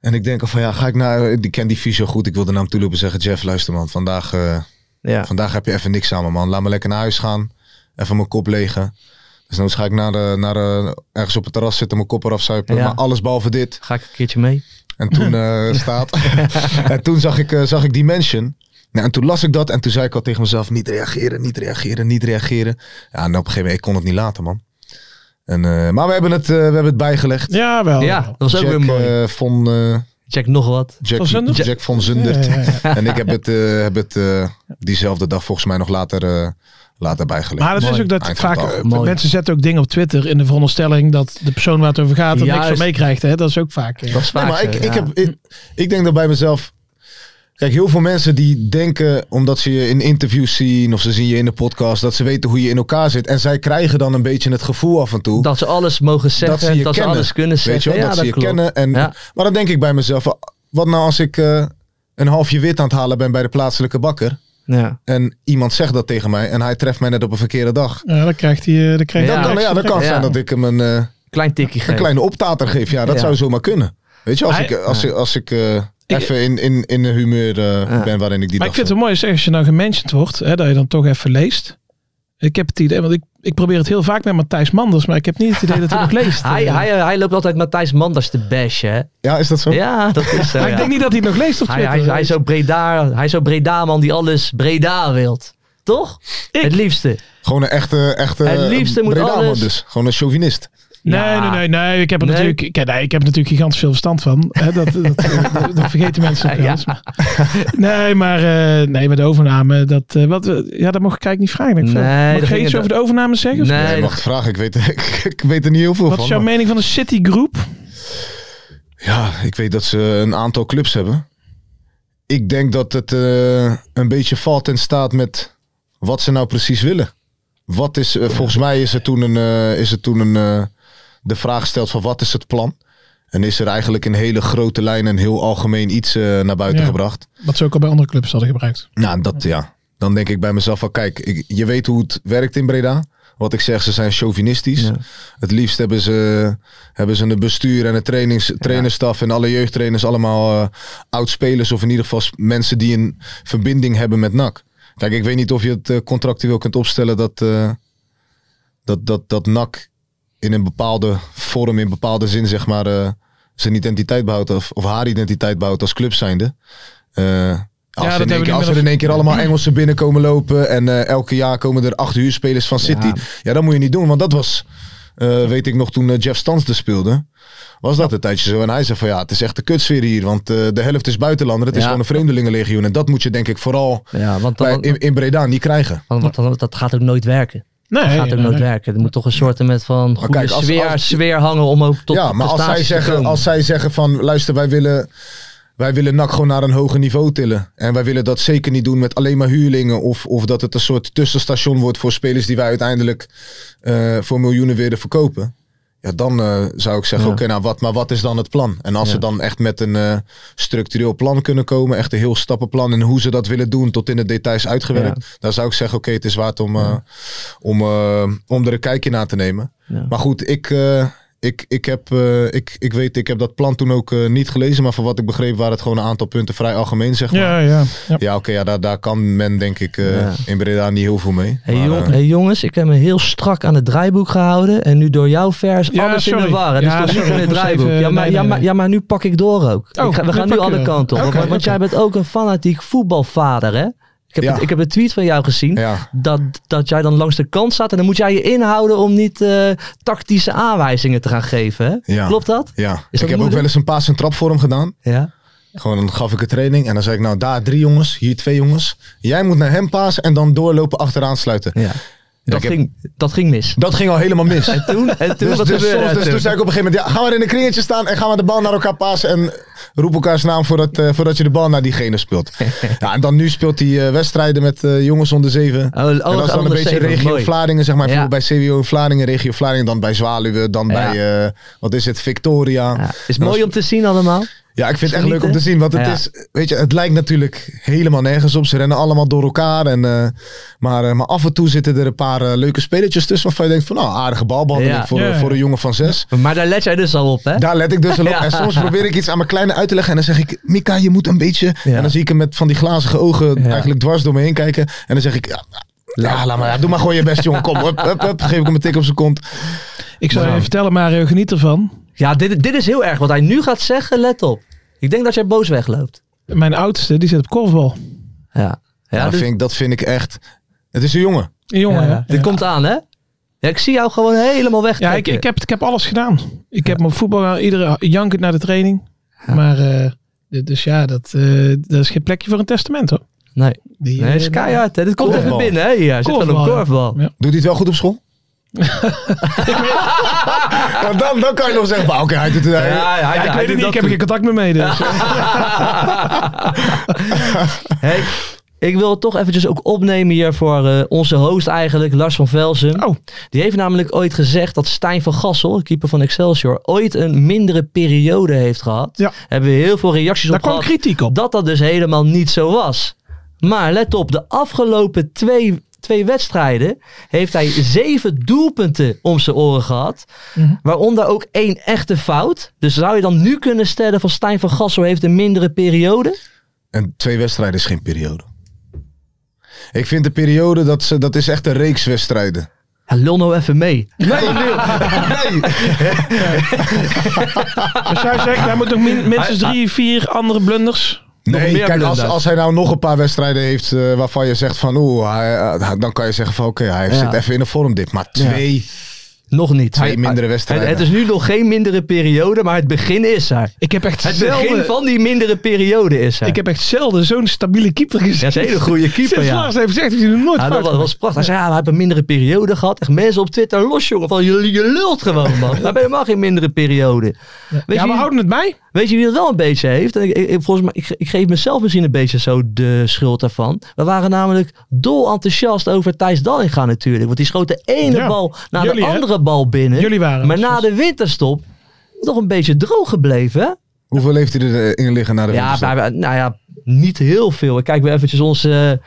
S4: En ik denk al van, ja, ga ik naar... Ik ken die fysio goed, ik wilde naar hem toe lopen en zeggen... Jeff, luister man, vandaag, eh,
S2: Ja.
S4: vandaag heb je even niks aan me man. Laat me lekker naar huis gaan. Even mijn kop legen. Dus dan ga ik naar, de, naar de- ergens op het terras zitten, mijn kop eraf zuipen.
S2: Ja.
S4: Maar alles behalve dit.
S2: Ga ik een keertje mee?
S4: En toen eh, staat. en toen zag ik, eh, zag ik die mention. Nou, en toen las ik dat en toen zei ik al tegen mezelf: niet reageren, niet reageren, niet reageren. Ja, en op een gegeven moment, ik kon het niet laten, man. En, eh, maar we hebben, het, eh, we hebben het bijgelegd.
S3: Ja, wel.
S2: Ja, dat was ook
S4: Jack,
S2: weer mooi.
S4: eh, von, eh,
S2: Check nog wat.
S4: Jack,
S3: Van Zundert?
S4: Jack van Zundert.
S3: Ja, ja,
S4: en ik heb het, eh, heb het eh, diezelfde dag volgens mij nog later, eh, later bijgelegd.
S3: Maar dat is
S2: Mooi.
S3: ook dat
S4: Eindgetal.
S3: vaak eh,
S2: Mooi.
S3: mensen zetten ook dingen op Twitter in de veronderstelling dat de persoon waar het over gaat er niks van
S2: Juist.
S3: meekrijgt. hè. Dat is ook vaak. eh,
S2: Dat is vaak
S4: Nee, maar ik,
S2: zo,
S4: ik,
S2: ja.
S4: heb, ik, ik denk dat bij mezelf. Kijk, heel veel mensen die denken, omdat ze je in interviews zien of ze zien je in de podcast, dat ze weten hoe je in elkaar zit. En zij krijgen dan een beetje het gevoel af en toe
S2: Dat ze alles mogen zeggen. Dat ze, alles kunnen zeggen.
S4: Weet je wel,
S2: ja,
S4: dat, ze je
S2: klopt.
S4: kennen. En,
S2: Ja.
S4: Maar dan denk ik bij mezelf, wat nou als ik eh, een halfje wit aan het halen ben bij de plaatselijke bakker.
S2: Ja.
S4: En iemand zegt dat tegen mij en hij treft mij net op een verkeerde dag.
S3: Ja, dan krijgt hij... eh, Dan krijgt
S2: Ja.
S3: hij
S4: Dan,
S3: een
S4: ja, dan kan het
S2: Ja.
S4: zijn dat ik hem een, eh,
S2: Klein tikkie
S4: een
S2: geven.
S4: kleine optater geef. Ja, dat
S2: Ja.
S4: zou zomaar kunnen. Weet je, als
S3: Hij-
S4: ik, als ik, als ik eh, even in, in, in een humeur eh, ben waarin ik die
S3: Maar ik vind
S4: dag zit.
S3: het mooi zeg, als je nou gementiond wordt, hè, dat je dan toch even leest. Ik heb het idee, want ik, ik probeer het heel vaak met Matthijs Manders, maar ik heb niet het idee dat hij nog leest.
S2: Ah, Hij,
S3: Eh,
S2: hij, hij loopt altijd Matthijs Manders te bashen. hè?
S4: Ja, is dat zo?
S2: Ja, dat is eh, zo.
S3: maar
S2: ja.
S3: ik denk niet dat hij het nog leest op
S2: Hij,
S3: Twitter.
S2: hij, hij, is zo Breda, hij is zo Breda-man die alles Breda wilt. Toch? Het liefste.
S4: Gewoon een echte, echte
S2: Het liefste moet
S4: Bredaman
S2: alles-
S4: dus. Gewoon een chauvinist.
S3: Nee,
S2: Ja.
S3: nee, nee, nee. Ik heb er
S2: Nee?
S3: natuurlijk, ik, nee, ik heb er natuurlijk gigantisch veel verstand van. Hè, dat, dat, dat, dat vergeten mensen wel
S2: Ja.
S3: eens. Nee, maar eh, nee, met de overname. Dat, eh, wat, we- ja, dat mocht ik eigenlijk niet vragen. Denk ik.
S2: Nee, dat
S3: mag je
S2: ging
S3: iets
S2: het-
S3: over de overname zeggen? of
S2: Nee,
S3: niet?
S4: Nee,
S2: dat-
S4: mag het vragen. Ik weet, ik, ik weet er niet heel veel
S3: Wat
S4: van.
S3: is jouw
S4: maar-
S3: mening van de Citigroup?
S4: Ja, ik weet dat ze een aantal clubs hebben. Ik denk dat het eh, een beetje valt en staat met wat ze nou precies willen. Wat is, eh, volgens mij is er toen, een, eh, is er toen een, eh, de vraag gesteld van wat is het plan? En is er eigenlijk in hele grote lijnen een heel algemeen iets eh, naar buiten
S3: Ja.
S4: gebracht.
S3: Wat ze ook al bij andere clubs hadden gebruikt.
S4: Nou, dat ja. Dan denk ik bij mezelf van kijk, ik- je weet hoe het werkt in Breda. Wat ik zeg, ze zijn chauvinistisch.
S2: Ja.
S4: Het liefst hebben ze, hebben ze een bestuur en een trainings, trainerstaf en alle jeugdtrainers allemaal eh oud-spelers. Of in ieder geval s- mensen die een verbinding hebben met NAC. Kijk, ik weet niet of je het eh, contractueel kunt opstellen dat, eh, dat, dat, dat NAC in een bepaalde vorm, in bepaalde zin zeg maar, eh, zijn identiteit behoudt. Of, of haar identiteit behoudt als club zijnde. Eh, als,
S3: dat
S4: er
S3: hebben
S4: in één
S3: we
S4: keer,
S3: nu
S4: als
S3: met
S4: er in
S3: een-
S4: één keer allemaal Engelsen binnenkomen lopen en eh, elke jaar komen er acht huurspelers van City. Ja. dat moet je niet doen, want dat was, eh, weet ik nog, toen eh, Jeff Stans er speelde. Was dat een tijdje zo? En hij zei van ja, het is echt de kutsfeer hier, want eh, de helft is buitenlander. Het is
S2: Ja.
S4: gewoon een vreemdelingenlegioen. En dat moet je denk ik vooral
S2: Ja, want,
S4: bij,
S2: dan,
S4: in, in Breda niet krijgen.
S2: want, want dan- dat gaat ook nooit werken.
S3: Nee,
S2: Dat gaat ook
S3: nee,
S2: nooit
S3: nee.
S2: werken. Er moet toch een soort met van goede
S4: kijk, als-
S2: sfeer,
S4: als-
S2: sfeer hangen om ook tot
S4: ja, maar als zij,
S2: prestaties te
S4: zeggen,
S2: komen.
S4: als zij zeggen van luister, wij willen, wij willen NAC gewoon naar een hoger niveau tillen. En wij willen dat zeker niet doen met alleen maar huurlingen. Of, of dat het een soort tussenstation wordt voor spelers die wij uiteindelijk eh, voor miljoenen willen verkopen. Ja, dan eh, zou ik zeggen,
S2: Ja.
S4: oké, nou wat, maar wat is dan het plan? En als
S2: Ja.
S4: ze dan echt met een eh, structureel plan kunnen komen, echt een heel stappenplan en hoe ze dat willen doen tot in de details uitgewerkt, dan zou ik zeggen, oké, het is waard om, eh, om, eh, om er een kijkje naar te nemen.
S2: Ja.
S4: Maar goed, ik, eh, ik, ik, heb, eh, ik, ik weet, ik heb dat plan toen ook eh, niet gelezen, maar voor wat ik begreep waren het gewoon een aantal punten vrij algemeen, zeg maar. Ja,
S3: Ja, ja. ja.
S4: oké, ja, daar, daar kan men denk ik eh,
S2: Ja.
S4: in Breda niet heel veel mee.
S2: Hey,
S4: Maar,
S2: jong-
S4: eh,
S2: hey jongens, ik heb me heel strak aan het draaiboek gehouden. En nu door jouw vers
S3: Ja,
S2: alles in
S3: sorry.
S2: de war. Het
S3: Ja,
S2: is toch niet
S3: sorry,
S2: in
S3: ik
S2: het
S3: moest
S2: draaiboek.
S3: even-
S2: ja, maar,
S3: nee,
S2: ja,
S3: nee,
S2: maar,
S3: nee.
S2: ja, maar nu pak ik door ook.
S3: Oh,
S2: Ik ga- we
S3: nu
S2: gaan nu
S3: pak je
S2: alle
S3: door.
S2: kanten op.
S3: Oké,
S2: want want
S3: oké.
S2: jij bent ook een fanatiek voetbalvader, hè? Ik heb,
S4: Ja.
S2: het, ik heb het tweet van jou gezien.
S4: ja.
S2: Dat, dat jij dan langs de kant staat. En dan moet jij je inhouden om niet eh, tactische aanwijzingen te gaan geven. Hè?
S4: Ja.
S2: Klopt dat?
S4: Ja, ik heb ook
S2: moeilijk?
S4: wel eens een paas en trap voor hem gedaan.
S2: Ja.
S4: Gewoon dan gaf ik een training en dan zei ik nou daar drie jongens, hier twee jongens. Jij moet naar hem pasen en dan doorlopen achteraan sluiten.
S2: ja. Dat,
S4: ik heb-
S2: ging, dat ging mis.
S4: Dat ging al helemaal mis.
S2: Toen, en toen
S4: dus,
S2: wat gebeurde
S4: dus, soms-
S2: er
S4: dus
S2: toen?
S4: toen zei ik op een gegeven moment, ja, gaan we in een kringetje staan en gaan we de bal naar elkaar pasen en roep elkaars naam voordat, eh, voordat je de bal naar diegene speelt. ja, en dan nu speelt hij eh, wedstrijden met eh, jongens onder zeven.
S2: Oh, oh,
S4: en dat is dan een
S2: onder
S4: beetje
S2: zeven,
S4: regio
S2: mooi.
S4: Vlaardingen, zeg maar.
S2: Ja.
S4: Bijvoorbeeld Bij CWO in Vlaardingen, regio Vlaardingen, dan bij Zwaluwe, dan bij, eh, wat is het, Victoria.
S2: Ja, is
S4: Dan
S2: mooi om te zien allemaal.
S4: ja, ik vind het echt leuk
S2: Genieten.
S4: om te zien. Want het,
S2: Ja.
S4: is, weet je, het lijkt natuurlijk helemaal nergens op. Ze rennen allemaal door elkaar. En, eh, maar, eh, maar af en toe zitten er een paar eh, leuke spelletjes tussen. Waarvan je denkt van nou, aardige balbehandeling
S2: Ja.
S4: voor,
S3: Ja, ja.
S4: voor een jongen van zes.
S2: Maar daar let jij dus al op, hè?
S4: Daar let ik dus wel op.
S2: Ja.
S4: En soms probeer ik iets aan mijn kleine uit te leggen. En dan zeg ik, Mika, je moet een beetje...
S2: Ja.
S4: En dan zie ik hem met van die glazige ogen
S2: Ja.
S4: eigenlijk dwars door me heen kijken. En dan zeg ik, ja, ja, laat maar, ja, doe maar gewoon je best, jongen. Kom, hup, hup, hup. Geef ik hem een tik op zijn kont.
S3: Ik zal
S2: Wauw.
S3: je even vertellen, Mario, geniet ervan.
S2: Ja, dit, dit is heel erg. Wat hij nu gaat zeggen, let op. Ik denk dat jij boos wegloopt.
S3: Mijn oudste, die zit op korfbal.
S2: Ja. Ja,
S4: Ja, dat,
S2: dus-
S4: vind ik, dat vind ik echt... Het is een jongen.
S3: Een jongen,
S2: ja,
S3: hè?
S2: Dit komt aan, hè? Ja, ik zie jou gewoon helemaal weg.
S3: Ja, ik, ik, heb, ik heb alles gedaan. Ik heb mijn voetbal, iedere jankend naar de training. Maar, eh, d- dus ja, dat, eh, dat is geen plekje voor een testament hoor.
S2: Nee,
S3: Die,
S2: nee
S3: eh,
S2: is keihard, hè? Dit komt
S4: Korfbal.
S2: even binnen, hè? Ja, zit wel op
S3: ja.
S2: korfbal.
S3: Ja.
S4: Doet hij het wel goed op school? Ja, dan, dan kan je nog zeggen, van, "Ah, oké, hij doet het. hij-
S2: Ja, hij-
S3: Ja, ik
S2: hij
S3: weet
S2: doet
S3: het niet,
S2: dat
S3: ik heb
S2: goed.
S3: geen contact meer mee. Dus.
S2: Hey, ik wil het toch eventjes ook opnemen hier voor eh, onze host eigenlijk, Lars van Velsen.
S3: Oh.
S2: Die heeft namelijk ooit gezegd dat Stijn van Gassel, keeper van Excelsior, ooit een mindere periode heeft gehad.
S3: Ja.
S2: Hebben we heel veel reacties
S3: Daar
S2: op
S3: kwam
S2: gehad.
S3: kritiek op.
S2: Dat dat dus helemaal niet zo was. Maar let op, de afgelopen twee twee wedstrijden heeft hij zeven doelpunten om zijn oren gehad.
S3: Mhm.
S2: Waaronder ook één echte fout. Dus zou je dan nu kunnen stellen van Stijn van Gassel heeft een mindere periode?
S4: En twee wedstrijden is geen periode. Ik vind de periode, dat, ze, dat is echt een reeks wedstrijden.
S2: Ja, Lul nou even mee.
S4: Nee,
S3: Dus jij zegt, hij moet nog min- minstens drie, vier andere blunders.
S4: nee
S2: meer
S4: kijk, als,
S2: blunders.
S4: als hij nou nog een paar wedstrijden heeft eh, waarvan je zegt van oeh, hij, eh, dan kan je zeggen van oké, hij
S2: Ja.
S4: zit even in een vormdip. Maar twee,
S2: Nog niet.
S4: Twee mindere wedstrijden.
S2: Het, het is nu nog geen mindere periode, maar het begin is er.
S3: Ik heb echt
S2: Het begin
S3: zelden...
S2: van die mindere periode is er.
S3: eh, Ik heb echt zelden zo'n stabiele keeper gezien.
S2: Ja, het is een hele goede keeper,
S3: Sinds
S2: ja.
S3: Lars heeft gezegd dat hij nog nooit
S2: Ja, Ah, dat
S3: fout
S2: was,
S3: gemaakt.
S2: was prachtig. Hij zei, ja, we hebben een mindere periode gehad. Echt mensen op Twitter los, jongen. Van, je, je lult gewoon, man. We hebben helemaal geen mindere periode. Weet,
S3: Ja,
S2: je,
S3: we houden het bij.
S2: weet je wie dat wel een beetje heeft? En ik, ik, volgens mij, ik, ge- ik geef mezelf misschien een beetje zo de schuld daarvan. We waren namelijk dol enthousiast over Thijs Dallinga natuurlijk. Want die schoot de ene
S3: Ja.
S2: bal naar
S3: Jullie,
S2: de
S3: hè?
S2: andere bal binnen.
S3: Jullie waren
S2: maar na
S3: enthousiast.
S2: de winterstop toch een beetje droog gebleven, hè?
S4: hoeveel heeft hij erin liggen naar de
S2: Ja,
S4: winterstop?
S2: maar- nou ja, niet heel veel. Ik kijk weer eventjes onze...
S5: Nou, zet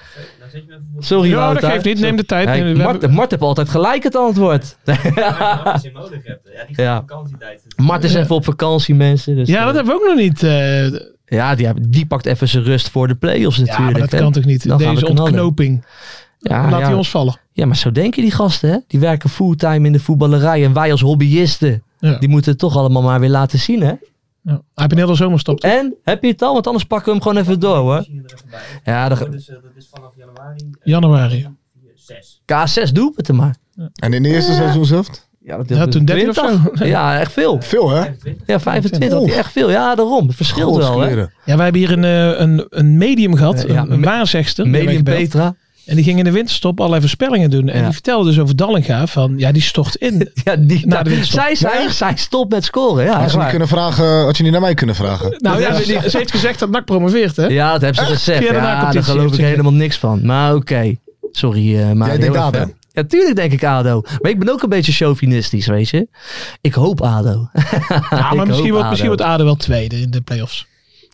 S5: je me even voor.
S2: Sorry,
S3: Ja, dat
S2: Wouter.
S3: geeft niet. Neem de tijd.
S2: Ja,
S3: Nee, we
S2: Mart,
S3: hebben-
S2: Mart heeft altijd gelijk het antwoord.
S5: Ja, als je nodig hebt. Ja, die is
S2: Ja.
S5: op vakantietijd.
S2: Mart is even op vakantie, mensen. Dus,
S3: Ja, dat
S2: eh,
S3: hebben we ook nog niet. eh,
S2: ja die, hebben- die pakt even zijn rust voor de play-offs
S3: ja, maar
S2: natuurlijk.
S3: dat
S2: hè.
S3: kan toch niet?
S2: Dan gaan
S3: Deze
S2: we knallen.
S3: ontknoping.
S2: Ja,
S3: Laat
S2: ja.
S3: hij ons vallen.
S2: ja, maar zo denken die gasten, hè? Die werken fulltime in de voetballerij. En wij als hobbyisten,
S3: Ja.
S2: die moeten het toch allemaal maar weer laten zien, hè?
S3: Ja. Hij heeft een hele zomerstop.
S2: En, heb je het al? Want anders pakken we hem gewoon even door, hoor.
S5: Misschien er even bij.
S2: Ja, dan-
S5: Dus eh, dat is vanaf januari. eh,
S3: Januari.
S5: 6.
S2: K6 doelpunten maar.
S4: En in de eerste seizoen zelf?
S2: Ja, dat
S3: Ja, toen 13 of zo.
S2: 20. Ja, echt veel.
S4: Veel hè?
S2: Ja, 25 had hij echt veel. Ja, daarom. Het verschilt wel, hè?
S4: Godskleren.
S3: Ja, wij hebben hier een, eh, een, een medium gehad.
S2: Eh, ja,
S3: een, een
S2: me-
S3: waarzegster. die
S2: Medium
S3: wij gebeld.
S2: Petra.
S3: En die ging in de winterstop allerlei voorspellingen doen. En
S2: Ja.
S3: die vertelde dus over Dallinga van, ja, die stort in.
S2: Ja, die,
S3: Na de winterstop.
S2: zij, zij, zij stopt met scoren. Ja,
S4: Had
S2: echt
S4: je, niet
S2: waar.
S4: kunnen vragen, had je niet naar mij kunnen vragen?
S3: nou ja,
S2: ja,
S3: ze, ze heeft gezegd dat NAC promoveert, hè?
S2: Ja, dat hebben ze gezegd.
S3: Via de
S2: Ja, daar
S3: nacompetitie
S2: geloof
S3: heeft
S2: ik
S3: ze
S2: helemaal niks van. Maar oké. Sorry, eh Mario.
S4: Jij denkt ADO?
S2: Even- Ja, tuurlijk denk ik ADO. Maar ik ben ook een beetje chauvinistisch, weet je. Ik hoop ADO.
S3: Ja, maar
S2: Ik
S3: misschien
S2: hoop
S3: wordt, misschien
S2: ADO.
S3: wordt ADO wel tweede in de play-offs.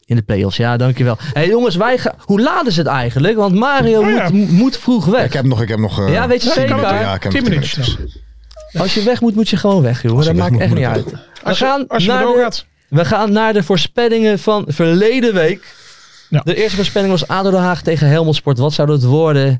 S2: In de play-offs, ja, dankjewel. Hé hey, jongens, wij gaan... Hoe laat is het eigenlijk? Want Mario
S3: Oh, ja.
S2: moet, moet vroeg weg.
S4: Ik heb nog, ik heb nog. eh,
S2: Ja, weet je
S4: tien
S2: zeker?
S4: minuten. Ja, ik heb nog
S3: 10
S4: tien
S3: minuten.
S4: minuten.
S2: Als je weg moet, moet je gewoon weg, joh.
S4: Als je
S2: Dat
S4: weg
S2: maakt
S4: moet,
S2: echt
S4: moet
S2: niet
S4: ik
S2: uit.
S4: ook.
S2: We gaan,
S3: Als je
S2: naar
S3: door
S2: de-
S3: gaat.
S2: we gaan naar de voorspellingen van verleden week.
S3: Ja.
S2: De eerste voorspelling was ADO Den Haag tegen Helmond Sport. Wat zou dat worden?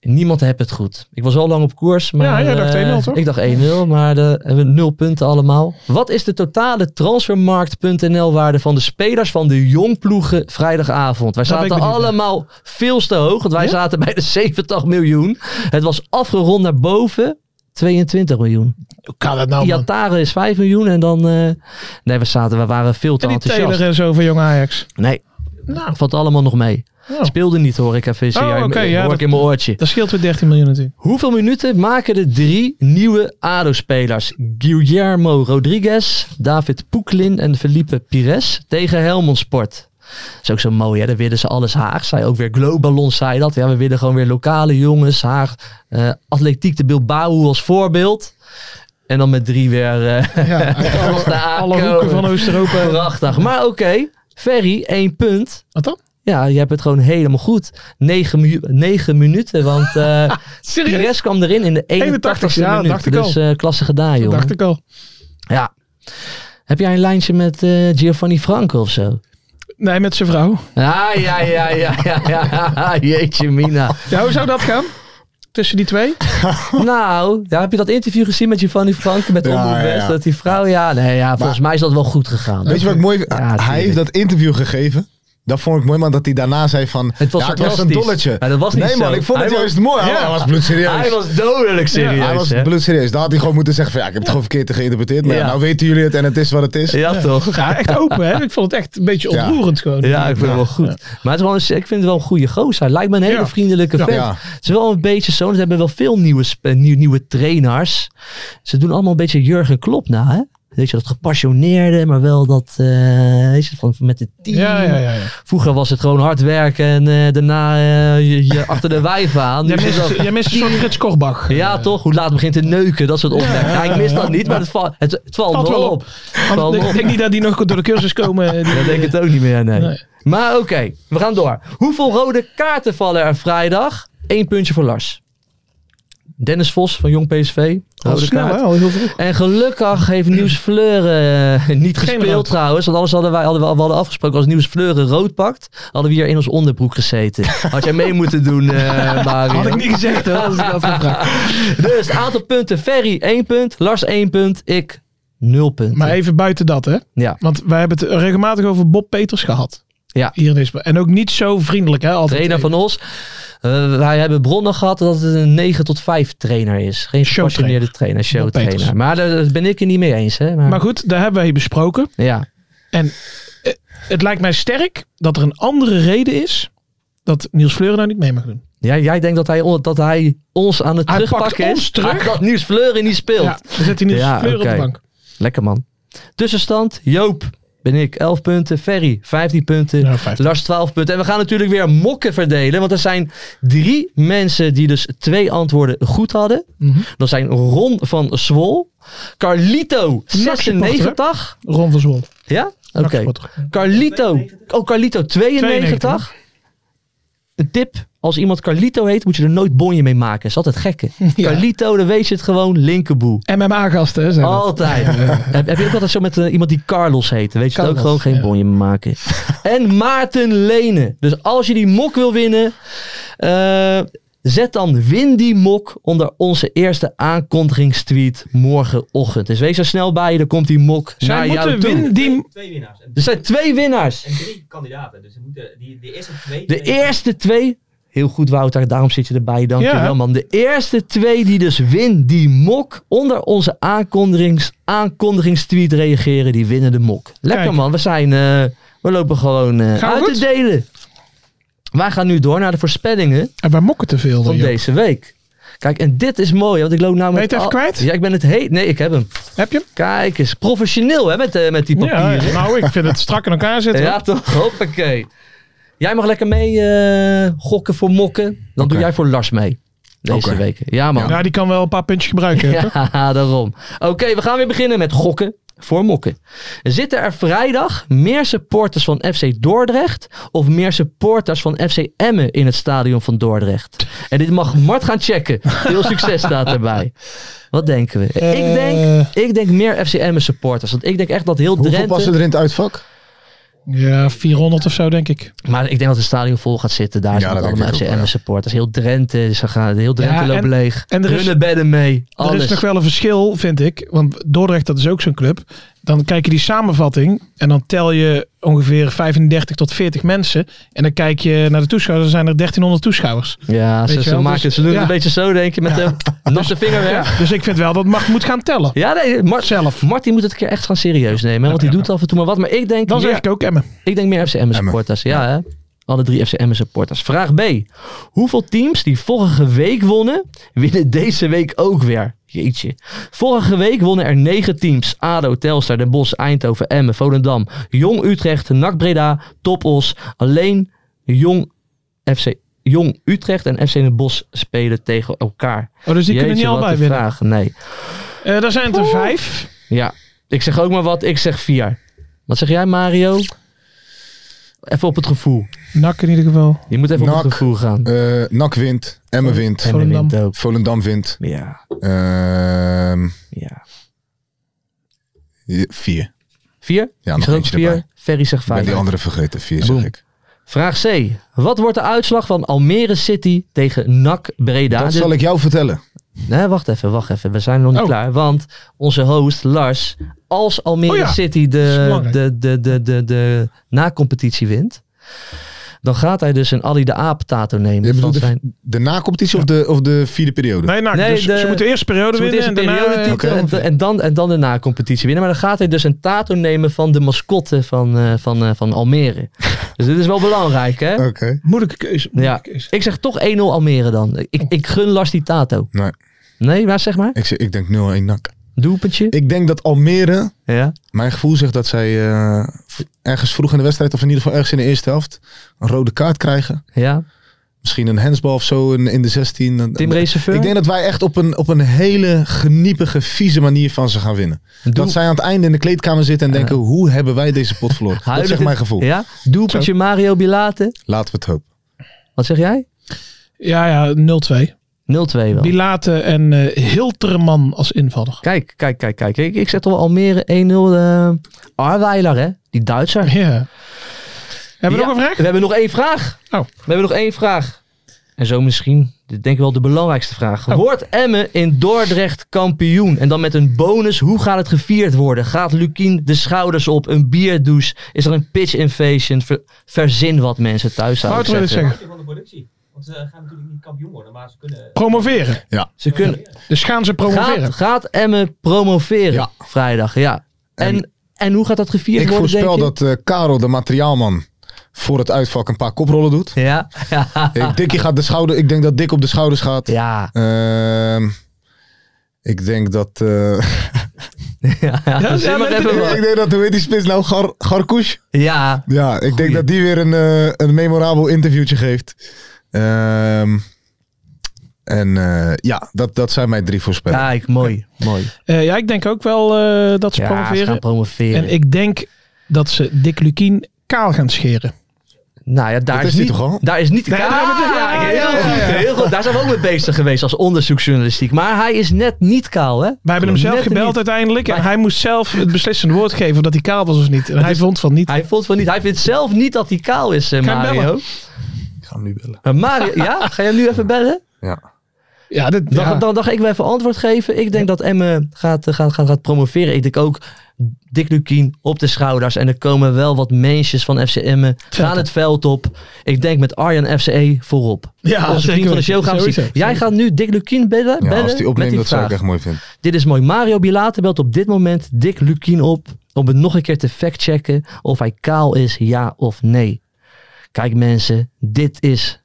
S2: Niemand hebt het goed. Ik was al lang op koers. Maar,
S3: Ja, jij dacht
S2: eh,
S3: 1-0 toch?
S2: Ik dacht 1-0, maar de, hebben we nul punten allemaal. Wat is de totale transfermarkt.nl waarde van de spelers van de jongploegen vrijdagavond? Wij
S3: Daar ben ik
S2: zaten
S3: benieuwd naar.
S2: allemaal veel te hoog, want wij
S3: Ja?
S2: zaten bij de 70 miljoen. Het was afgerond naar boven 22 miljoen.
S3: Hoe kan dat nou, man?
S2: Iatare is 5 miljoen en dan... eh, nee, we, zaten, we waren veel te
S3: En die
S2: enthousiast.
S3: Taylor en zo van Jong Ajax.
S2: Nee,
S3: Nou,
S2: valt allemaal nog mee.
S3: nou,
S2: Speelde niet hoor ik even.
S3: Oh,
S2: ja, ik-
S3: oké, ja,
S2: hoor ik
S3: dat-
S2: in mijn oortje.
S3: dat scheelt weer 13 miljoen natuurlijk.
S2: Hoeveel minuten maken de drie nieuwe ADO-spelers? Guillermo Rodriguez, David Poeklin en Felipe Pires tegen Helmond Sport. Dat is ook zo mooi, hè? Daar willen ze alles Haag. Zij ook weer Globalon zei dat. Ja, we willen gewoon weer lokale jongens. Haag, eh, Atletiek de Bilbao als voorbeeld. En dan met drie weer eh
S3: Ja,
S2: als de
S3: alle
S2: aankomen.
S3: hoeken van Oost-Europa.
S2: Prachtig. Maar oké, Ferry, één punt.
S3: Wat dan?
S2: Ja, je hebt het gewoon helemaal goed. 9, minuten, want eh
S3: Serieus?
S2: Pires kwam erin in de 81ste
S3: 81ste, ja,
S2: minuut.
S3: dacht ik
S2: dus eh, klasse gedaan,
S3: Dat
S2: joh.
S3: dacht ik al.
S2: Ja. Heb jij een lijntje met eh, Giovanni Franco of zo?
S3: Nee, met zijn vrouw.
S2: Ah, ja, ja, ja, ja, ja. Jeetje, Mina.
S3: Ja, hoe zou dat gaan? Tussen die twee?
S2: Nou, ja, heb je dat interview gezien met Giovanni Franco met
S4: Ja,
S2: Omroep
S4: ja, ja.
S2: West? Dat die vrouw, ja, nee, ja, volgens mij is dat wel goed gegaan.
S4: Weet je wat ik mooi
S2: Ja,
S4: Hij
S2: tuurlijk.
S4: heeft dat interview gegeven. Dat vond ik mooi, maar dat hij daarna zei van...
S2: Het was
S4: ja, het was een
S2: sarcastisch.
S4: dolletje.
S2: Maar dat was niet
S4: nee man,
S2: zo.
S4: ik vond het
S2: Hij
S4: juist mooi. Hij was bloedserieus.
S2: Hij was dodelijk serieus,
S4: Hij was
S2: hè?
S4: bloedserieus. Daar had hij gewoon moeten zeggen van... Ja, ik heb het gewoon verkeerd geïnterpreteerd. Maar ja,
S2: Ja.
S4: nou weten jullie het en het is wat het is.
S2: Ja, toch?
S3: Ja, echt open, hè? Ik vond het echt een beetje
S4: Ja.
S3: ontroerend gewoon.
S2: Ja, ik vind het wel goed. Maar het is wel een, ik vind het wel een goede gozer. Hij lijkt me een hele
S3: Ja.
S2: vriendelijke vent.
S4: Ja.
S2: Het is wel een beetje zo. Ze hebben wel veel nieuwe, sp- eh, nieuw- nieuwe trainers. Ze doen allemaal een beetje Jurgen Klopp na, hè? Weet je, dat gepassioneerde, maar wel dat, eh, weet je, van, met het team.
S3: Ja, ja, ja. ja.
S2: Vroeger was het gewoon hard werken en eh, daarna eh, je, je achter de wijf aan. Nu
S3: Jij
S2: is het
S3: mist,
S2: wel-
S3: jij mist een soort Frits Korbach.
S2: ja, toch? Hoe laat begint het neuken? Dat soort opmerkingen. Ja, ik mis dat niet, maar het, val- het, het valt,
S3: Valt
S2: wel
S3: wel
S2: op.
S3: op.
S2: Het valt
S3: Want
S2: wel
S3: ik
S2: op.
S3: denk niet dat die nog door de cursus komen. eh, die-
S2: Dat denk ik het ook niet meer, nee.
S3: Nee.
S2: Maar oké, we gaan door. Hoeveel rode kaarten vallen er vrijdag? 1,5 één puntje voor Lars. Dennis Vos van Jong PSV.
S3: Al
S2: Rode
S3: Oh, snel,
S2: kaart.
S3: hè? Al heel vroeg.
S2: En gelukkig heeft Nieuws Fleur eh, niet gespeeld
S3: rood.
S2: trouwens. Want anders hadden wij hadden we, we hadden afgesproken als Nieuws Fleur een rood pakt, hadden we hier in ons onderbroek gezeten. Had jij mee moeten doen, eh Mario.
S3: Had ik niet gezegd, hè? Als ik dat gevraagd.
S2: Dus aantal punten. Ferry 1 punt. Lars 1 punt. Ik 0 punten.
S3: Maar even buiten dat, hè?
S2: Ja.
S3: Want wij hebben het regelmatig over Bob Peters gehad.
S2: Ja.
S3: Hier in Isbe. En ook niet zo vriendelijk, hè? Altijd.
S2: trainer van ons. Eh, wij hebben bronnen gehad dat het een 9 tot 5 trainer is. Geen
S3: Showtrainer.
S2: gepassioneerde trainer, showtrainer.
S3: Peters.
S2: Maar daar daar ben ik het niet mee eens. Hè? Maar,
S3: Maar goed, daar hebben wij besproken.
S2: ja.
S3: Het lijkt mij sterk dat er een andere reden is dat Niels Fleuren nou niet mee mag doen.
S2: Ja, jij denkt dat hij, on- dat hij ons aan het
S3: Hij
S2: terugpakken
S3: pakt
S2: is.
S3: ons terug.
S2: Dat Nieuws Fleuren niet speelt.
S3: Ja, dan zet hij Niels
S2: Ja,
S3: Fleuren
S2: oké.
S3: op de bank.
S2: Lekker man. Tussenstand, Joop ben ik 11 punten, Ferry 15 punten,
S3: Ja, 15.
S2: Lars 12 punten. En we gaan natuurlijk weer mokken verdelen, want er zijn drie mensen die dus twee antwoorden goed hadden.
S3: Mhm.
S2: Dat zijn Ron van Zwol, Carlito
S3: supporter,
S2: 96,
S3: Ron van Zwol.
S2: ja? Oké.
S3: Oké.
S2: Carlito, oh Carlito 92.
S3: 92.
S2: Een tip, als iemand Carlito heet, moet je er nooit bonje mee maken. Dat is altijd gekke.
S3: Ja.
S2: Carlito, dan weet je het gewoon, linkerboe.
S3: MMA-gasten, hè? Zijn dat.
S2: Altijd. heb, heb je ook altijd zo met eh, iemand die Carlos heet? Dan Weet je het ook
S3: Carlos,
S2: gewoon geen
S3: ja.
S2: bonje maken. en Maarten Lenen. Dus als je die mok wil winnen, eh, zet dan win die mok onder onze eerste aankondigingstweet morgenochtend. Dus wees er snel bij, dan komt die mok
S3: Zij
S2: naar jou
S3: moeten
S2: toe.
S3: winnen die...
S5: Twee winnaars. En,
S2: Er zijn twee winnaars.
S5: en drie kandidaten. Dus ze moeten die, de eerste twee.
S2: De eerste twee. Heel goed, Wouter. Daarom zit je erbij. Dank je
S3: Ja.
S2: wel, man. De eerste twee die dus win die mok onder onze aankondigings, aankondigingstweet reageren, die winnen de mok. Lekker,
S3: Kijk.
S2: man. We, zijn, eh, we lopen gewoon eh,
S3: Gaan we
S2: uit
S3: goed?
S2: te delen. Wij gaan nu door naar de voorspellingen
S3: En wij mokken te veel.
S2: van
S3: Oh, joh.
S2: deze week. Kijk, en dit is mooi, want ik loop nou met...
S3: Ben je het even
S2: al-
S3: kwijt?
S2: Ja, ik ben het heet. Nee, ik heb hem.
S3: Heb je hem?
S2: Kijk eens, professioneel hè, met, eh, met die papieren.
S3: Ja, nou, ik vind het strak in elkaar zitten.
S2: Ja,
S3: hoor.
S2: toch? Hoppakee. Jij mag lekker mee eh, gokken voor mokken. Dan doe
S4: Oké.
S2: jij voor Lars mee. Deze
S4: Oké.
S2: week. Ja, man.
S3: Ja, die kan wel een paar puntjes gebruiken. hè, toch?
S2: Ja, daarom. Oké, we gaan weer beginnen met gokken voor mokken. Zitten er vrijdag meer supporters van FC Dordrecht of meer supporters van FC Emmen in het stadion van Dordrecht? En dit mag Mart gaan checken. Veel succes staat erbij. Wat denken we?
S4: Eh.
S2: Ik, denk, ik denk meer FC Emmen supporters. Want ik denk echt dat heel
S4: Hoeveel
S2: Drenthe...
S4: passen er in het uitvak?
S3: Ja, 400 of zo, denk ik.
S2: Maar ik denk dat het stadion vol gaat zitten. Daar
S4: Ja,
S2: zijn
S4: dat denk
S2: allemaal
S4: ik ook wel,
S2: FCM
S4: ja.
S2: supporters. Heel Drenthe. Ze gaan, heel Drenthe
S3: Ja,
S2: loopt
S3: en-
S2: leeg.
S3: en er is-
S2: Hunne bedden mee. Alles.
S3: Er is nog wel een verschil, vind ik. Want Dordrecht, dat is ook zo'n club. Dan kijk je die samenvatting en dan tel je ongeveer 35 tot 40 mensen. En dan kijk je naar de toeschouwers, dan zijn er 1300 toeschouwers.
S2: Ja,
S3: Weet
S2: ze,
S3: je
S2: ze
S3: wel,
S2: maken,
S3: dus-
S2: ze doen het
S3: ja.
S2: een beetje zo, denk je, met de natte vinger weg.
S3: Dus ik vind wel dat mag moet gaan tellen.
S2: Ja, nee, Mart,
S3: Zelf.
S2: Martin moet het een keer echt gaan serieus nemen. hè, want die doet af en toe maar wat. Maar ik denk,
S3: Dan zeg
S2: meer,
S3: ik ook Emmen.
S2: ik denk meer FCM supporters. Ja, hè? Alle drie FCM supporters. Vraag B. Hoeveel teams die vorige week wonnen, winnen deze week ook weer? Jeetje. Vorige week wonnen er negen teams. ADO, Telstar, Den Bosch, Eindhoven, Emmen, Volendam, Jong Utrecht, NAC Breda, Topos. Alleen Jong, FC, Jong Utrecht en FC Den Bosch spelen tegen elkaar.
S3: Oh, dus die kunnen
S2: Jeetje,
S3: niet
S2: wat
S3: allebei
S2: een
S3: winnen.
S2: vraag. Nee.
S3: Eh daar zijn het er vijf.
S2: Ja, ik zeg ook maar wat. Ik zeg vier. Wat zeg jij, Mario? Even op het gevoel.
S3: Nak in ieder geval.
S2: Je moet even op
S4: NAC.
S2: het gevoel gaan.
S4: Eh Nak wint,
S2: Oh,
S4: Emmen wint,
S2: En de
S3: Volendam.
S2: wind ook.
S4: Volendam wint.
S2: Ja,
S4: Ehm,
S2: ja.
S4: je- vier.
S2: Vier?
S4: Ja,
S2: ik
S4: nog
S2: zeg ook
S4: eentje
S2: vier.
S4: erbij.
S2: Ferry zegt
S4: Ik ben
S2: vijf.
S4: die andere vergeten. Vier
S2: Boom.
S4: zeg ik.
S2: Vraag C. Wat wordt de uitslag van Almere City tegen NAC Breda?
S4: Dat
S2: Dit-
S4: zal ik jou vertellen.
S2: Nee, wacht even, wacht even. We zijn nog niet
S3: Oh.
S2: klaar. Want onze host, Lars, als Almere
S3: Oh ja,
S2: City
S3: dat is
S2: de,
S3: belangrijk.
S2: de, de, de, de, de na-competitie wint, dan gaat hij dus een Ali de Aap-tato nemen.
S4: Je
S2: van
S4: bedoelt de,
S2: zijn-
S4: de na-competitie of, de, of de vierde periode?
S3: Nee, Nak.
S2: Nee,
S3: dus
S2: de-
S3: ze moeten eerst de periode
S2: Ze moeten
S3: winnen
S2: eerst een
S3: en daarna... eh,
S2: periodetitel en, en, dan, en dan de na-competitie winnen. Maar dan gaat hij dus een tato nemen van de mascotte van, eh, van, eh, van Almere. dus dit is wel belangrijk, hè?
S4: Oké.
S3: Moeilijke keuze.
S2: Ja.
S3: moeilijke keuze.
S2: Ik zeg toch 1-0 Almere dan. Ik, ik gun Lars die tato.
S4: Nee.
S2: Nee, maar zeg maar.
S4: Ik, zeg- ik denk 0-1 NAC.
S2: Doelpuntje.
S4: Ik denk dat Almere,
S2: Ja.
S4: mijn gevoel zegt dat zij eh, v- ergens vroeg in de wedstrijd, of in ieder geval ergens in de eerste helft, een rode kaart krijgen.
S2: Ja.
S4: Misschien een handsbal of zo in, in de 16. Dan-
S2: Tim Reserveur.
S4: ik denk dat wij echt op een, op een hele geniepige, vieze manier van ze gaan winnen.
S2: Doe-
S4: Dat zij aan het einde in de kleedkamer zitten en denken, hoe hebben wij deze pot verloren? dat
S2: Huilen
S4: zegt
S2: dit-
S4: mijn gevoel.
S2: Ja. Doelpuntje Mario Bilate.
S4: Laten we het hopen.
S2: Wat zeg jij?
S3: Ja, ja, 0-2.
S2: 0-2 wel.
S3: Bilate en eh, Hilterman als invaller.
S2: Kijk, kijk, kijk, kijk. Ik, ik zet al Almere 1-0. eh Arweiler, hè? Die Duitser.
S3: Ja. Hebben we nog een vraag?
S2: We hebben nog één vraag.
S3: Oh.
S2: We hebben nog één vraag. En zo misschien, dit denk ik wel de belangrijkste vraag.
S3: Oh.
S2: Wordt Emmen in Dordrecht kampioen? En dan met een bonus, hoe gaat het gevierd worden? Gaat Lukien de schouders op? Een bierdouche? Is er een pitch invasion? Ver- verzin wat mensen thuis zouden
S3: Wouter wil
S2: zeggen.
S3: ik zeggen.
S5: van de productie. Want ze gaan natuurlijk niet kampioen worden, maar ze kunnen...
S3: Promoveren.
S2: Ze kunnen,
S3: Dus gaan ze promoveren.
S2: gaat, gaat Emmen promoveren
S4: Ja.
S2: vrijdag? Ja. En, en, hoe gaat dat gevierd
S4: Ik
S2: worden,
S4: voorspel
S2: denk
S4: dat eh, Karel, de materiaalman, voor het uitvak een paar koprollen doet.
S2: je? Ja.
S4: Ik, Dikkie gaat de schouder, ik denk dat Dick op de schouders gaat.
S2: Ja.
S4: Ehm, ik denk dat... eh,
S2: ja, ja, verzin
S3: ja,
S2: maar
S3: weet
S2: even
S3: ik-
S2: wat.
S4: ik denk dat, hoe heet die spits nou? Gar, Garkoes?
S2: Ja.
S4: Ja, ik denk
S2: Goeie.
S4: dat die weer een, eh, een memorabel interviewtje geeft. Ehm, en eh, ja, dat, dat zijn mijn drie voorspellingen.
S2: Kijk, mooi. Mooi.
S3: Eh, ja, ik denk ook wel eh, dat ze
S2: Ja, ze gaan
S3: promoveren.
S2: promoveren.
S3: En ik denk dat ze Dick Lukien kaal gaan scheren.
S2: nou ja, daar
S4: Dat
S2: is,
S4: is die
S2: niet,
S4: toch al?
S2: Daar is niet de
S3: Nee, daar hebben we het-
S2: Ja,
S3: ja,
S2: heel
S3: ja,
S2: goed,
S3: ja, ja.
S2: heel goed. Daar zijn we ook mee bezig geweest als onderzoeksjournalistiek. Maar hij is net niet kaal, hè?
S3: Wij hebben hem zelf
S2: Net
S3: gebeld
S2: niet.
S3: uiteindelijk. En
S2: Maar-
S3: hij moest zelf het beslissende woord geven of dat hij kaal was of niet. En hij vond van niet.
S2: Hij vond van niet. Hij vindt zelf niet dat hij kaal is, eh,
S3: Ga hem
S2: Mario.
S4: Ik ga hem nu bellen.
S2: Eh, Mario, ja? Ga je nu even bellen?
S4: Ja.
S3: Ja, dit,
S2: Dan,
S3: ja.
S2: dan, dan ga ik wel even antwoord geven. Ik denk dat Emme gaat, eh, gaat, gaat, gaat promoveren. Ik denk ook Dick Lukien op de schouders. En er komen wel wat mensjes van FC Emmen. Gaan
S3: op.
S2: het veld op. Ik denk met Arjan FCE voorop.
S3: Ja,
S2: Onze
S3: zeker
S2: vriend van de
S3: weten.
S2: show gaan we zien.
S3: Sowieso.
S2: Jij gaat nu Dick Lukien bellen,
S4: Ja,
S2: bellen
S4: als die
S2: met
S4: opneemt,
S2: die
S4: dat zou ik
S2: vraag.
S4: echt mooi vinden.
S2: Dit is mooi. Mario Bilate belt op dit moment Dick Lukien op. Om het nog een keer te factchecken of hij kaal is, ja of nee. Kijk mensen, dit is,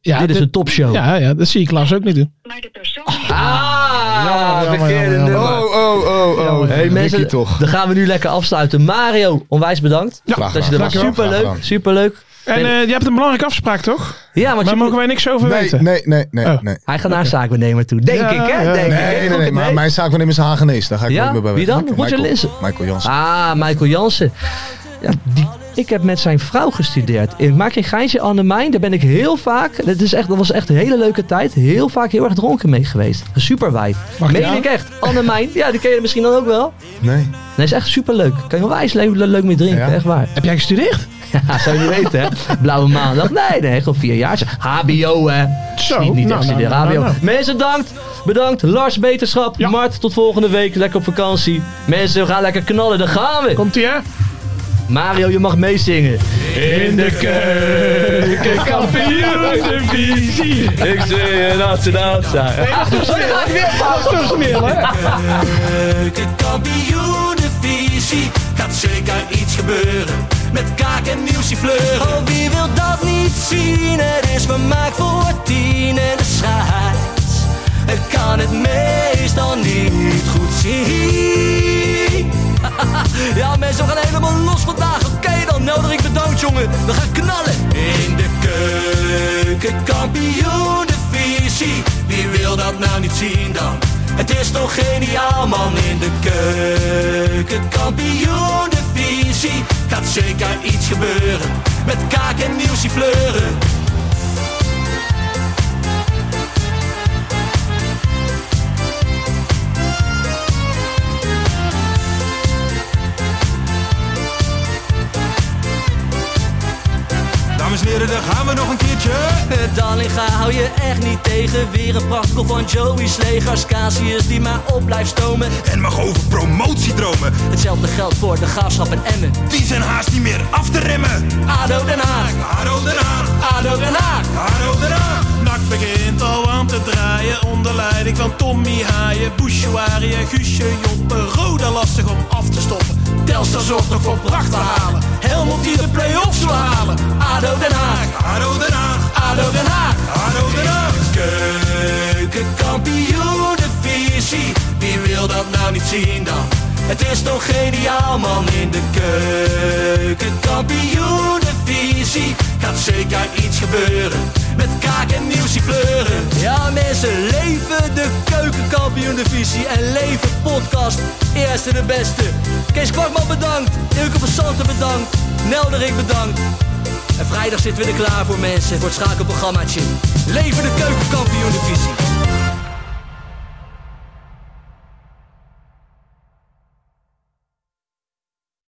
S3: ja,
S2: dit is een topshow.
S3: Ja, ja, dat zie ik Lars ook niet doen.
S7: Maar de persoon...
S2: Ah,
S3: jammer, jammer,
S2: verkeerde
S3: jammer, jammer.
S2: nummer.
S4: Oh, oh, oh, oh.
S3: Ja,
S2: Hey
S4: Dikkie
S2: mensen,
S4: toch.
S2: dan gaan we nu lekker afsluiten. Mario, onwijs bedankt.
S3: Ja,
S4: Graag
S2: dat je er was.
S4: gedaan. Graag
S2: Superleuk,
S4: gedaan.
S2: superleuk.
S3: En eh, je hebt een belangrijke afspraak, toch?
S2: Ja, maar
S3: Daar
S2: ik-
S3: mogen wij niks over
S4: Nee,
S3: weten.
S4: nee, nee, nee.
S3: Oh.
S4: nee.
S2: hij gaat naar zaakbenemer toe. Denk
S3: Ja,
S2: ik, hè?
S3: ja.
S2: Denk ik, hè?
S4: Nee, nee, nee, maar mijn zaakwaarnemer is Hagenees. Daar ga ik
S2: Ja?
S4: nooit meer bij
S2: Wie
S4: weg.
S2: dan?
S4: Michael-
S2: Roger Linssen.
S4: Michael Jansen.
S2: Ah, Michael Jansen. Ja, die, ik heb met zijn vrouw gestudeerd. Ik maak geen geintje, Annemijn. Daar ben ik heel vaak, dat, is echt, dat was echt een hele leuke tijd, heel vaak heel erg dronken mee geweest. Super wij.
S3: Mag ik
S2: Meen
S3: jou?
S2: ik echt. Annemijn, ja, die ken je misschien dan ook wel.
S4: Nee.
S2: Nee, is echt superleuk. Kan je onwijs leuk, leuk mee drinken,
S4: Ja?
S2: echt waar.
S3: Heb jij gestudeerd?
S2: Ja, zou je weten, hè? Blauwe maandag. Nee, nee, gewoon vier jaar. HBO, hè?
S3: Zo,
S2: Niet, niet
S3: nou,
S2: echt studeren.
S3: nou, nou,
S2: HBO.
S3: nou,
S2: Mensen, bedankt. Bedankt. Lars, beterschap.
S3: Ja.
S2: Mart, tot volgende week. Lekker op vakantie. Mensen, we gaan lekker knallen. Daar gaan we.
S3: Komt ie, hè?
S2: Mario, je mag meezingen.
S3: In de keuken, kampioenenvisie.
S2: Ik zing een nachtse nachtsa.
S8: keukenkampioenenvisie. Gaat zeker iets gebeuren met kaak en nieuwsje fleuren. Oh, wie wil dat niet zien? Het is vermaakt voor tien en de scheids. Ik kan het meestal niet goed zien. Ja, mensen, we gaan helemaal los vandaag. Oké, dan nodig ik bedankt, jongen. We gaan knallen. In de keuken, kampioen, de visie. Wie wil dat nou niet zien dan? Het is toch geniaal, man. In de keuken, kampioen, de visie. Gaat zeker iets gebeuren. Met kaak en nieuwsie fleuren.
S9: Dames en heren, daar gaan we nog een keertje.
S8: Eh, Dallinga hou je echt niet tegen. Weer een prachtkel van Joey's legers. Casius die maar op blijft stomen.
S9: En mag over promotiedromen.
S8: Hetzelfde geldt voor de graafschap en Emmen.
S9: Die zijn haast niet meer af te remmen.
S8: ADO Den Haag,
S9: Haro eraan,
S8: ADO Den Haag.
S9: haro eraan.
S8: Nak begint al aan te draaien onder leiding van Tommy Haaien, Bouchouari en Guusje Joppen. Roda lastig om af te stoppen. Telstar zorgt nog voor pracht te halen. Helmond die de play-offs wil halen. ADO Den Haag,
S9: Haro eraan,
S8: ADO Den Haag.
S9: haro eraan.
S8: Keukenkampioenenvisie, wie wil dat nou niet zien dan? Het is toch geniaal man in de keukenkampioenenvisie Gaat zeker iets gebeuren, met kaak en nieuwsie kleuren Ja mensen, leven de keukenkampioenenvisie en leven podcast Eerste de beste Kees Kwakman bedankt, Ilke van Santen bedankt, Nelderik bedankt en
S2: Vrijdag zitten we er klaar voor mensen voor het schakelprogrammaatje. Leven de keukenkampioen divisie.